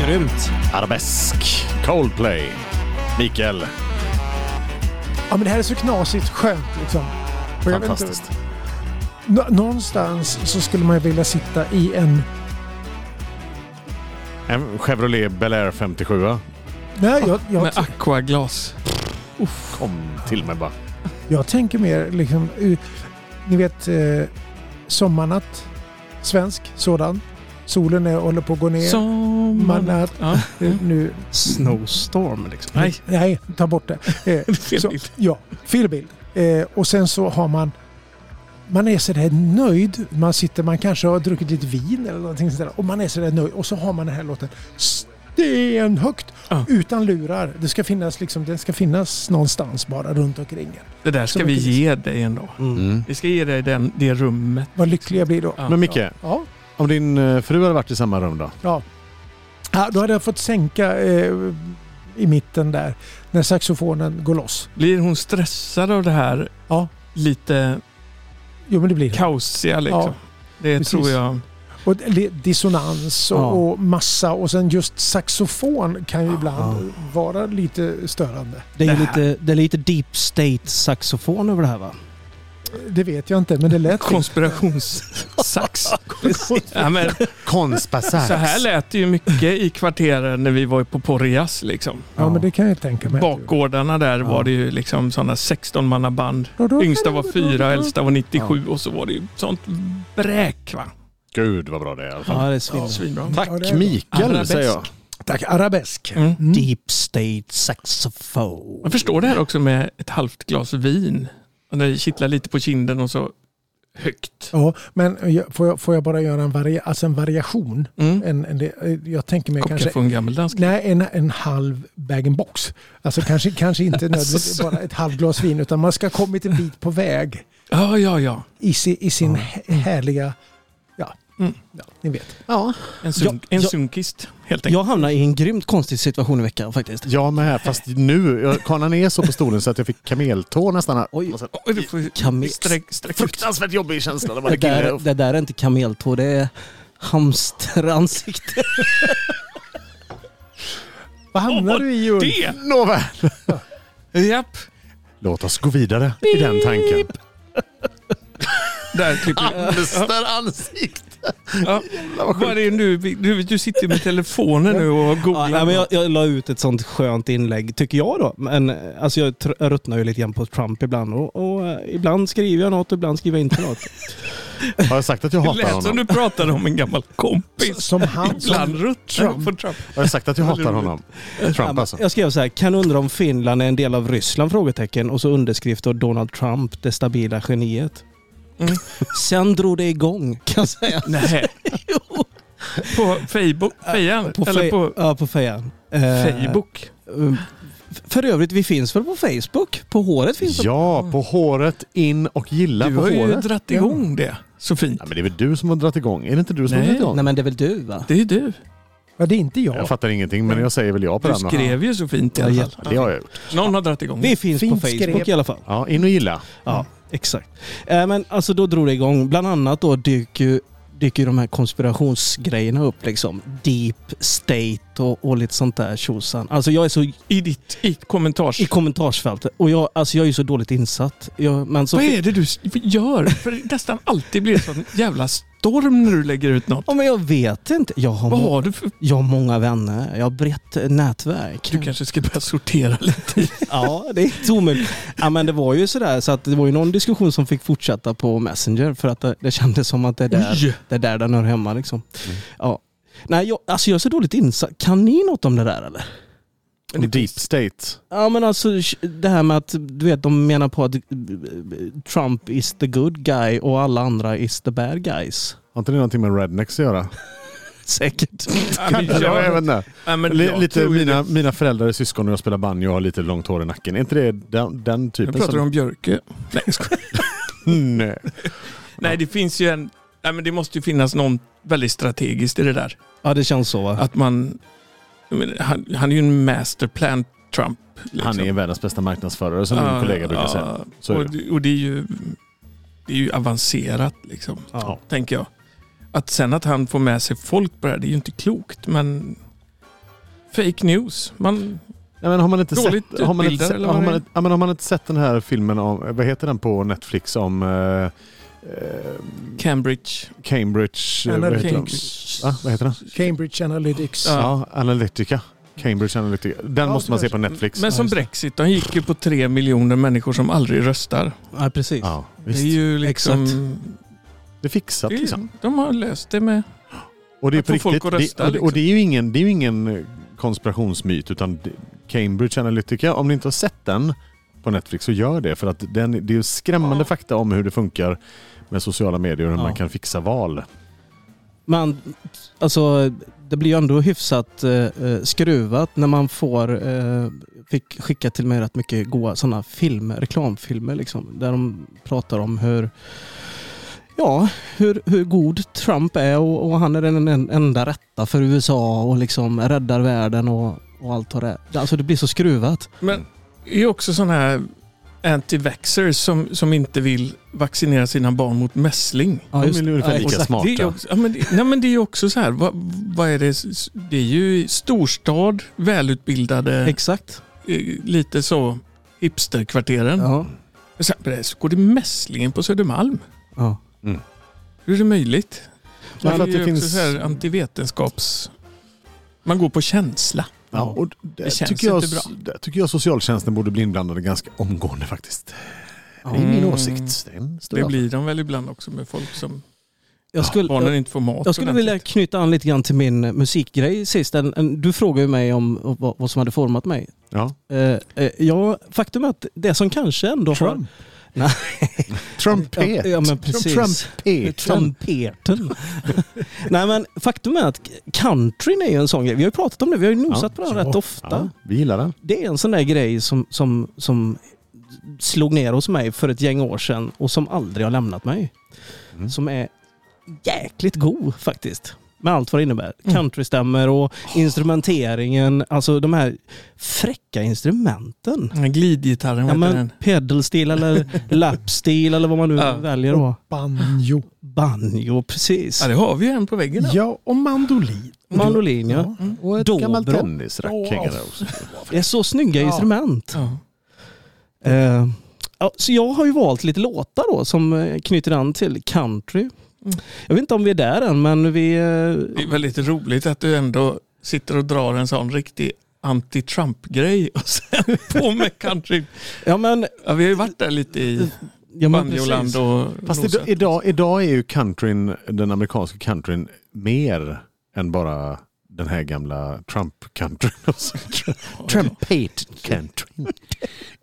S3: Grymt.
S1: Arabesk. Coldplay. Mikael.
S4: Ja, men det här är så knasigt skönt liksom. Och jag vet inte-
S1: Fantastiskt.
S4: Nå- Någonstans så skulle man ju vilja sitta i en...
S1: En Chevrolet Bel Air 57.
S4: Nej, jag, jag,
S2: Med aquaglas.
S1: Kom till mig bara.
S4: jag tänker mer liksom... u- Ni vet, eh, sommarnatt. Svensk sådan. Solen är, håller på att gå ner.
S2: Sommar...
S4: Sommarnatt.
S2: Ja,
S4: Eh, Nu,
S3: Snowstorm liksom.
S2: nej.
S4: nej, ta bort det. Eh,
S2: Fel
S4: Så-
S2: bild.
S4: Ja, fel bild. Eh, och sen så har man man är sådär nöjd. Man sitter, man kanske har druckit lite vin eller någonting sådär. Och man är sådär nöjd. Och så har man den här låten stenhögt.
S2: Ja.
S4: Utan lurar. Det ska finnas liksom, den ska finnas någonstans bara runt omkring en.
S2: Det där ska
S4: Så
S2: vi
S4: mycket
S2: ge dig en dag.
S1: Mm.
S2: Vi ska ge dig den, det rummet.
S4: Vad lycklig jag blir då.
S2: Ja.
S1: Men Micke,
S4: Ja,
S1: om din eh, fru hade varit i samma rum då?
S4: ja då hade jag fått sänka eh, i mitten där. När saxofonen går loss.
S2: Blir hon stressad av det här?
S4: Ja.
S2: Lite
S4: Jo men det blir det.
S2: kaosiga liksom.
S4: Ja,
S2: det
S4: precis.
S2: tror jag.
S4: Och det- dissonans och,
S3: Ja.
S4: och massa och sen just saxofon kan ju ibland
S3: Ja.
S4: vara lite störande.
S3: Det är,
S2: Det
S3: ju
S2: här-
S3: lite, det är lite deep state saxofon över det här va?
S4: Det vet jag inte men det lät
S2: Konspirationssax. ja, men,
S1: Konspasax.
S2: så här lät det ju mycket i kvarteren när vi var på Porjas. Liksom.
S4: Ja men det kan jag tänka mig.
S2: Bakgårdarna där
S3: Ja.
S2: var det ju liksom sådana 16-mannaband. Yngsta var fyra, äldsta var 97 och så var det ju sånt bräk. Va?
S1: Gud vad bra det är i alla fall.
S3: Ja, det är svinnbra.
S2: Svinbra.
S1: Tack
S4: Ja, det är bra.
S1: Mikael
S2: Arabesk.
S1: säger jag.
S4: Tack, arabesk.
S2: Mm.
S3: Deep state saxofon.
S2: Man förstår det här också med ett halvt glas vin. Och det kittlar lite på kinden och så högt.
S4: Ja, men jag- får jag, får jag bara göra en, varia, alltså en variation?
S3: eh,
S2: Mm.
S4: En, en, det- jag tänker mig
S2: Kock
S4: kanske...
S2: kaffe och en gammeldansk.
S4: Nej, en, en halv bag-in-box. Alltså kanske, kanske inte nödvändigtvis
S2: Alltså,
S4: bara ett halvglas vin utan man ska ha kommit en bit på väg
S2: Ja, ja, ja.
S4: i, si, i sin hä- härliga... Ja,
S2: Mm.
S4: ja ni vet.
S2: En, sunk,
S3: Ja,
S2: en
S3: ja.
S2: sunkist helt enkelt.
S3: Jag hamnade i en grymt konstig situation i veckan faktiskt.
S1: Jag med här, fast nu. Jag kanade ner så på stolen så att jag fick kameltå nästan. Här.
S3: Oj.
S1: Och sen-
S2: Oj, du får
S3: Alltså, Kamel-
S2: sträck, sträck ut.
S1: Fruktansvärt jobbig känsla när man
S3: Det
S1: är kille.
S3: där, det där är inte kameltå, det är hamsteransikte.
S4: Vad hamnar
S2: Åh,
S4: du i? Ulf?
S2: Det!
S1: Nåväl.
S2: Japp.
S1: Låt oss gå vidare i den tanken.
S2: Där klipper vi.
S1: Hamster ansikte.
S3: Ah,
S2: Ja. Vad är det nu? Du, du sitter ju med telefonen nu och
S3: Ja,
S2: googlar.
S3: nej, men jag, jag la ut ett sånt skönt inlägg, tycker jag då. Men eh, alltså, jag tr- jag ruttnar ju lite grann på Trump ibland. Och, och, eh, ibland skriver jag något och ibland skriver jag inte något.
S1: Har jag sagt att jag
S2: det
S1: hatar
S2: lät som
S1: honom?
S2: du pratade om en gammal kompis.
S4: Som han, som,
S2: Ibland ruttnar jag på Trump.
S1: Har jag sagt att jag hatar honom? Trump alltså.
S3: Jag skrev så här, kan undra om Finland är en del av Ryssland? Frågetecken. Och så underskrift av Donald Trump, det stabila geniet.
S2: Mm.
S3: Sen drog det igång, kan jag säga.
S2: Nej. På Facebook? Fejan?
S3: På
S2: Eller
S3: fe-
S2: på
S3: Ja, på fejan. Eh,
S2: Facebook?
S3: eh, f- För övrigt, vi finns väl på Facebook? På håret finns vi.
S1: Ja, på håret, in och gilla
S2: Du
S1: på
S2: har ju
S1: håret.
S2: dratt igång det så fint.
S1: Ja, men det är väl du som har dragit igång? Är det inte du som har
S2: Nej.
S1: dragit igång?
S3: Nej, men det är väl du va?
S2: Det är ju du.
S4: ja, det är inte jag.
S1: Jag fattar ingenting, men jag säger väl ja på
S2: Du
S1: den.
S2: skrev ju så fint i
S3: Ja,
S2: alla
S1: Ja, Det
S2: fall.
S1: har jag gjort.
S2: Någon har dratt igång det.
S3: Vi finns på
S4: Fint
S3: Facebook
S4: skrev.
S3: i alla fall.
S1: Ja, in och gilla.
S2: Mm.
S3: Ja, exakt. Eh, men alltså då drog det igång. Bland annat då dyker ju, dyker ju de här konspirationsgrejerna upp liksom. Deep state och, och lite sånt där tjosan. Alltså jag är så
S2: I ditt i kommentars...
S3: i kommentarsfältet och jag, alltså jag är ju så dåligt insatt. Jag, men så
S2: Vad är det du s- gör? För det nästan alltid blir det sån jävla storm när du lägger ut något.
S3: Ja, men jag vet inte. Jag har,
S2: Vad
S3: må-
S2: har du för...
S3: jag har många vänner. Jag har brett eh, nätverk.
S2: Du kanske ska börja sortera lite. i-
S3: Ja, det är inte omöjligt. Ja, men det var ju sådär så att det var ju någon diskussion som fick fortsätta på Messenger för att det, det kändes som att det är där
S2: Oj!
S3: Det är där den hör hemma liksom. Ja. Nej, jag, alltså jag är så dåligt insatt. Kan ni något om det där eller?
S1: Om Deep state.
S3: Ja men alltså det här med att du vet de menar på att eh, Trump is the good guy och alla andra is the bad guys.
S1: Har inte det någonting med rednecks att göra?
S3: Säkert.
S2: Ja, men
S1: Kanske, jag
S2: jag-
S1: vet inte.
S2: ja, men
S1: Li-
S2: jag
S1: lite
S2: tror ju
S1: mina,
S2: det.
S1: mina föräldrar är syskon och jag spelar banjo och har lite långt hår i nacken. Är inte det den, den
S2: Nu
S1: typen?
S2: pratar du om Björke. Nej, jag skojar.
S1: Nej.
S2: Nej, det finns ju en... Nej, men det måste ju finnas någon väldigt strategiskt i det där.
S3: Ja det känns så va?
S2: Att man... jag menar, Han, han är ju en masterplan, Trump. liksom.
S1: Han är världens bästa marknadsförare som min kollega brukar säga. Så är
S2: och, det. och det är ju... Det är ju avancerat liksom.
S3: Ja.
S2: tänker jag. Att sen att han får med sig folk på det här, det är ju inte klokt. Men fake news. Man,
S1: Nej, men har man inte
S2: Dåligt
S1: sett, har man inte,
S2: utbildad,
S1: sett-
S2: eller
S1: har
S2: vad
S1: man,
S2: det är?
S1: inte- ja, men har man inte sett den här filmen om, vad heter den på Netflix om eh, eh,
S2: Cambridge.
S1: Cambridge, eh, vad heter den?
S2: Cambridge.
S1: Va? vad heter den?
S4: Cambridge Analytics.
S2: Ja.
S1: Ja, Analytica. Cambridge Analytica. Den
S4: Ja,
S1: måste man se på
S4: kanske.
S1: Netflix.
S2: Men som
S4: just det.
S2: Brexit, de gick ju på tre miljoner människor som aldrig röstar.
S3: Ja, precis.
S1: Ja,
S2: Det är
S1: visst.
S2: ju liksom...
S3: Exakt.
S1: Det är fixat
S2: Det
S1: liksom.
S2: är, de har löst det med...
S1: Och det är
S2: Att
S1: på
S2: få folk
S1: riktigt.
S2: att
S1: Det,
S2: rösta,
S1: och, det- och
S2: liksom.
S1: det är ju ingen, det är ju ingen eh, konspirationsmyt utan det- Cambridge Analytica, om ni inte har sett den på Netflix så gör det. För att den, det är ju skrämmande fakta om hur det funkar med sociala medier och hur
S3: Ja.
S1: man kan fixa val.
S3: Men alltså, det blir ju ändå hyfsat eh, eh, skruvat när man får, eh, fick skicka till mig rätt mycket goa sådana filmer, reklamfilmer liksom, där de pratar om hur Ja, hur, hur god Trump är och, och han är den en- enda rätta för USA och liksom räddar världen och, och allt vad det är. Alltså det blir så skruvat.
S2: Men det är ju också sådana här anti-vaxxers som, som inte vill vaccinera sina barn mot mässling.
S3: Ja,
S1: De är ungefär
S3: Ja,
S1: lika
S3: exakt.
S1: smarta.
S2: Det är också, ja, men det, nej, men det är ju också så här, vad, vad är det? Det är ju storstad, välutbildade,
S3: Exakt.
S2: eh, lite så hipsterkvarteren.
S3: Ja.
S2: Men sen på det här Så går det mässlingen på Södermalm.
S3: Ja.
S2: Hur är det möjligt?
S1: Ja,
S2: Men
S1: för
S2: det
S1: att
S2: är
S1: det
S2: ju
S1: finns-
S2: också så här antivetenskaps... Man går på känsla.
S1: Ja, och det,
S2: Det känns
S1: tycker jag,
S2: inte bra.
S1: Där tycker jag socialtjänsten borde bli inblandade ganska omgående faktiskt. Det är min
S2: Mm.
S1: åsikt. Det, är en stor
S2: Det blir de väl ibland också med folk som...
S3: Jag skulle,
S2: Barnen inte får mat
S3: Jag skulle
S2: ordentligt.
S3: vilja knyta an lite grann till min eh, musikgrej sist. En, en, du frågade ju mig om om vad, vad som hade format mig.
S1: Ja.
S3: Eh, eh, ja, faktum är att det som kanske ändå
S4: Trump.
S3: har...
S1: Trumpet.
S3: Ja, ja, men precis.
S1: Trumpet.
S3: Trumpeten. Nej men faktum är att countryn är ju en sån grej. Vi har ju pratat om det, vi har ju nosat på den
S1: Ja.
S3: rätt ofta.
S1: Ja, vi gillar den.
S3: Det är en sån där grej som, som, som slog ner hos mig för ett gäng år sedan och som aldrig har lämnat mig.
S1: Mm.
S3: Som är jäkligt god faktiskt. Med allt vad det innebär.
S2: Mm.
S3: Countrystämmer och instrumenteringen. Alltså de här fräcka instrumenten.
S2: Den här Glidgitarren,
S3: Ja,
S2: vad heter den?
S3: men pedalstil eller lapstil eller vad man nu
S2: Ja.
S3: väljer. Då.
S4: Banjo.
S3: Banjo, precis.
S2: Ja, det har vi ju en på väggen. där.
S4: Ja, och mandolin.
S3: Mandolin, ja.
S1: Och ett
S3: Dobro.
S1: gammalt tennisrack
S4: Åh.
S1: hänger där också.
S3: Det är så snygga
S4: Ja.
S3: instrument.
S2: Ja.
S1: Mm.
S3: Eh, ja, så jag har ju valt lite låtar då som eh, knyter an till country. Jag vet inte om vi är där än, men vi... eh,
S2: Det är väldigt roligt att du ändå sitter och drar en sån riktig anti-Trump-grej och sen på med country.
S3: Ja, men...
S2: Ja, vi har ju varit där lite i
S3: Ja, men
S2: Banjoland
S3: precis.
S2: och
S1: Fast idag,
S2: Rosat.
S1: idag, idag är ju countryn, den amerikanska countryn mer än bara den här gamla Trump-countryn. Trumpet-countryn.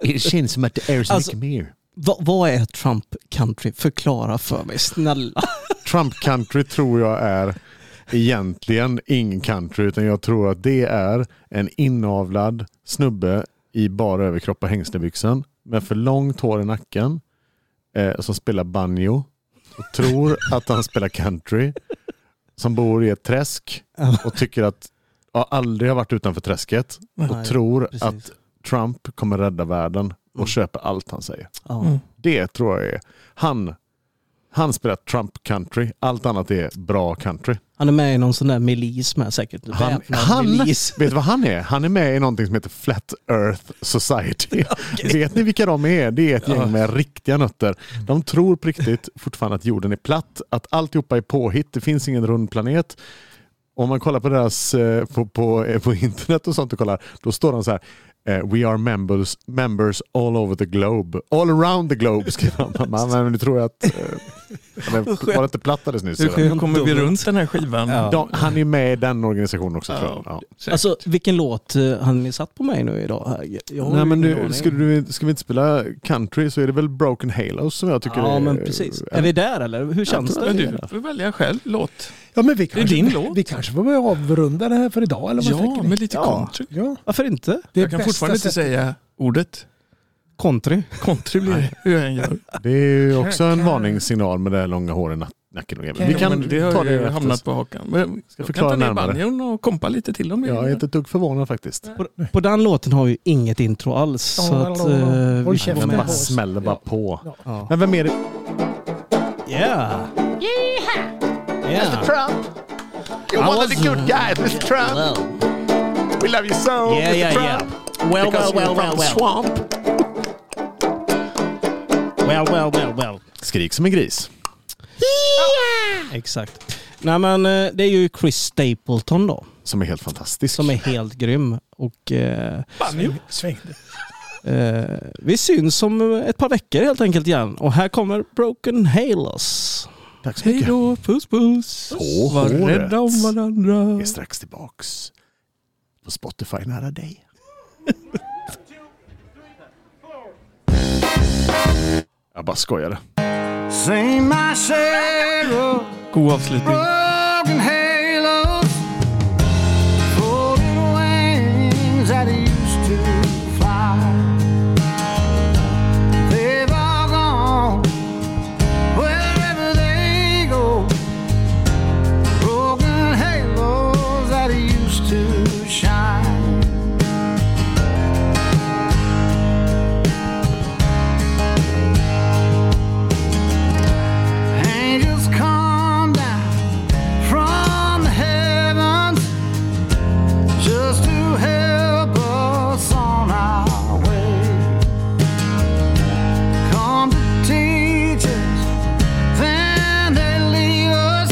S1: Det känns som att det är så
S3: Alltså-
S1: mycket mer.
S3: Va, vad är Trump country? Förklara för mig, snälla.
S1: Trump country tror jag är egentligen ingen country utan jag tror att det är en inavlad snubbe i bara överkropp och hängslebyxan med för långt hår i nacken eh, som spelar banjo och tror att han spelar country som bor i ett träsk och tycker att ja, aldrig har varit utanför träsket och
S3: Nej,
S1: tror
S3: precis.
S1: att Trump kommer rädda världen och köper allt han säger.
S3: Ja.
S1: Det tror jag är. Han, han spelar Trump country. Allt annat är bra country.
S3: Han är med i någon sån där milis med säkert.
S1: Han,
S3: Väpnad
S1: han,
S3: milis.
S1: vet du vad han är? Han är med i någonting som heter Flat Earth Society. Vet ni vilka de är? Det är ett gäng med riktiga nötter. De tror på riktigt fortfarande att jorden är platt, att alltihopa är påhitt, det finns ingen rund planet. Om man kollar på deras eh, på, på, eh, på internet och sånt och kollar, då står de så här eh, We are members, members all over the globe. All around the globe skriver de. Man, men nu tror jag att... eh, men Var det inte platt alldeles nyss?
S2: Hur
S1: eller?
S2: hur kommer vi runt den här skivan?
S1: De, han är med i den organisationen också tror jag.
S2: Ja.
S1: Ja.
S2: Säkert.
S3: Alltså, vilken låt eh, har ni satt på mig nu idag? Jag har
S1: Nej
S3: ju
S1: men
S3: ingen
S1: du,
S3: aning.
S1: ska, du, ska vi inte spela country så är det väl Broken Halos som jag tycker
S3: Ja,
S1: är...
S3: men precis. Är
S1: Är
S3: vi där eller? Hur känns
S1: tror
S3: det?
S2: Men du får välja själv låt.
S4: Ja, men vi kanske,
S2: din låt.
S4: Vi kanske får börja avrunda det här för idag. Eller vad
S2: Ja,
S4: tänker ni?
S2: med lite
S3: Ja.
S2: country.
S4: ja,
S3: Varför inte?
S4: det är
S2: Jag kan
S4: bästa
S2: fortfarande inte
S4: sättet.
S2: säga ordet.
S3: Country.
S2: Country blir det, hur jag än gör.
S1: det är ju också en
S4: Kan-
S1: varningssignal med det här långa håret i na- nacken. och grejer.
S4: Kan-
S1: Vi
S2: Ja,
S1: kan
S2: men det har
S1: ta
S2: ju
S1: det
S2: hamnat
S1: efter.
S2: på hakan. Men
S1: Ska
S2: jag
S1: förklara
S2: kan ta ner
S1: närmare.
S2: banjon och kompa lite till om det.
S1: Jag är inte ett dugg förvånad faktiskt.
S3: På, på den låten har vi inget intro alls. Så att, eh, vi
S4: Håll
S3: får
S4: käften.
S1: Den
S3: med
S1: bara
S3: oss.
S1: smäller bara på.
S4: Ja.
S3: Ja.
S1: Men vem är det?
S3: Yeah! Yeah!
S1: Trump! You're
S3: one of the
S1: good guys, Mr. Trump!
S3: Well,
S1: We love you so,
S3: Yeah,
S1: Mr.
S3: yeah,
S1: Trump.
S3: yeah. Well,
S1: Because
S3: well,
S1: you're
S3: well,
S1: from
S3: well,
S1: Swamp.
S3: Well, well, well, well.
S1: Skrik som en gris.
S3: Exakt. Nej men eh, det är ju Chris Stapleton då.
S1: Som är helt fantastisk.
S3: Som är helt grym. Och eh,
S4: Sväng- Svängde.
S3: eh, vi syns om ett par veckor helt enkelt igen. Och här kommer Broken Halos.
S1: Tack så
S2: Hej
S1: mycket.
S2: då, puss puss.
S1: På
S2: Var
S1: håret.
S2: rädda om varandra.
S1: Vi är strax tillbaks på Spotify nära dig. Jag bara skojade.
S6: Seen my saddle,
S2: God avslutning.
S6: broken halos, folded wings that used to fly. They've all gone wherever they go. Broken halos that used to shine. Angels come down from the heavens just to help us on our way. Come to teach us, then they leave us,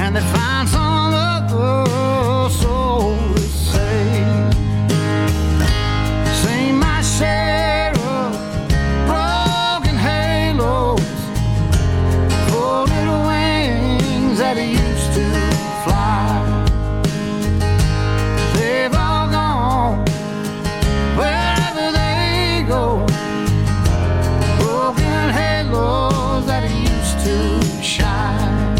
S6: and they find some other soul to save. See my share of broken halos folded wings that used to fly. They've all gone wherever they go. Broken halos that used to shine.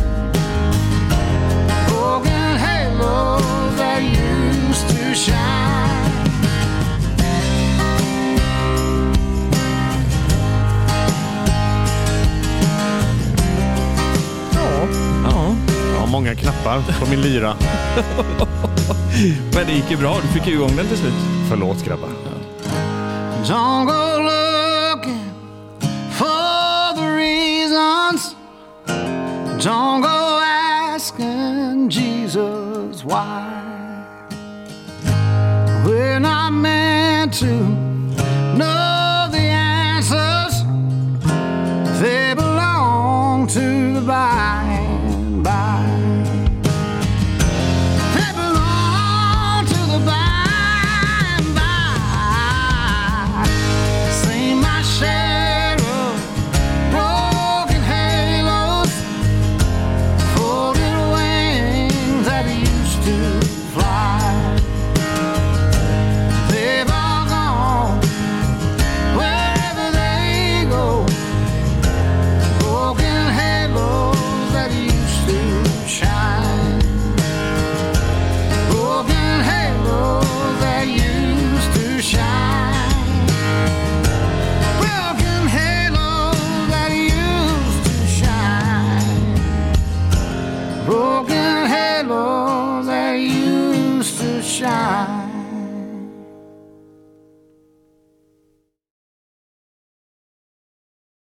S6: Broken halos that used to shine.
S2: Ja,
S1: Ja, många knappar på min lyra.
S2: men det gick ju bra. Du fick ju igång den till slut.
S1: Förlåt grabbar.
S6: Don't go looking for the reasons. Don't go asking Jesus why. We're not meant to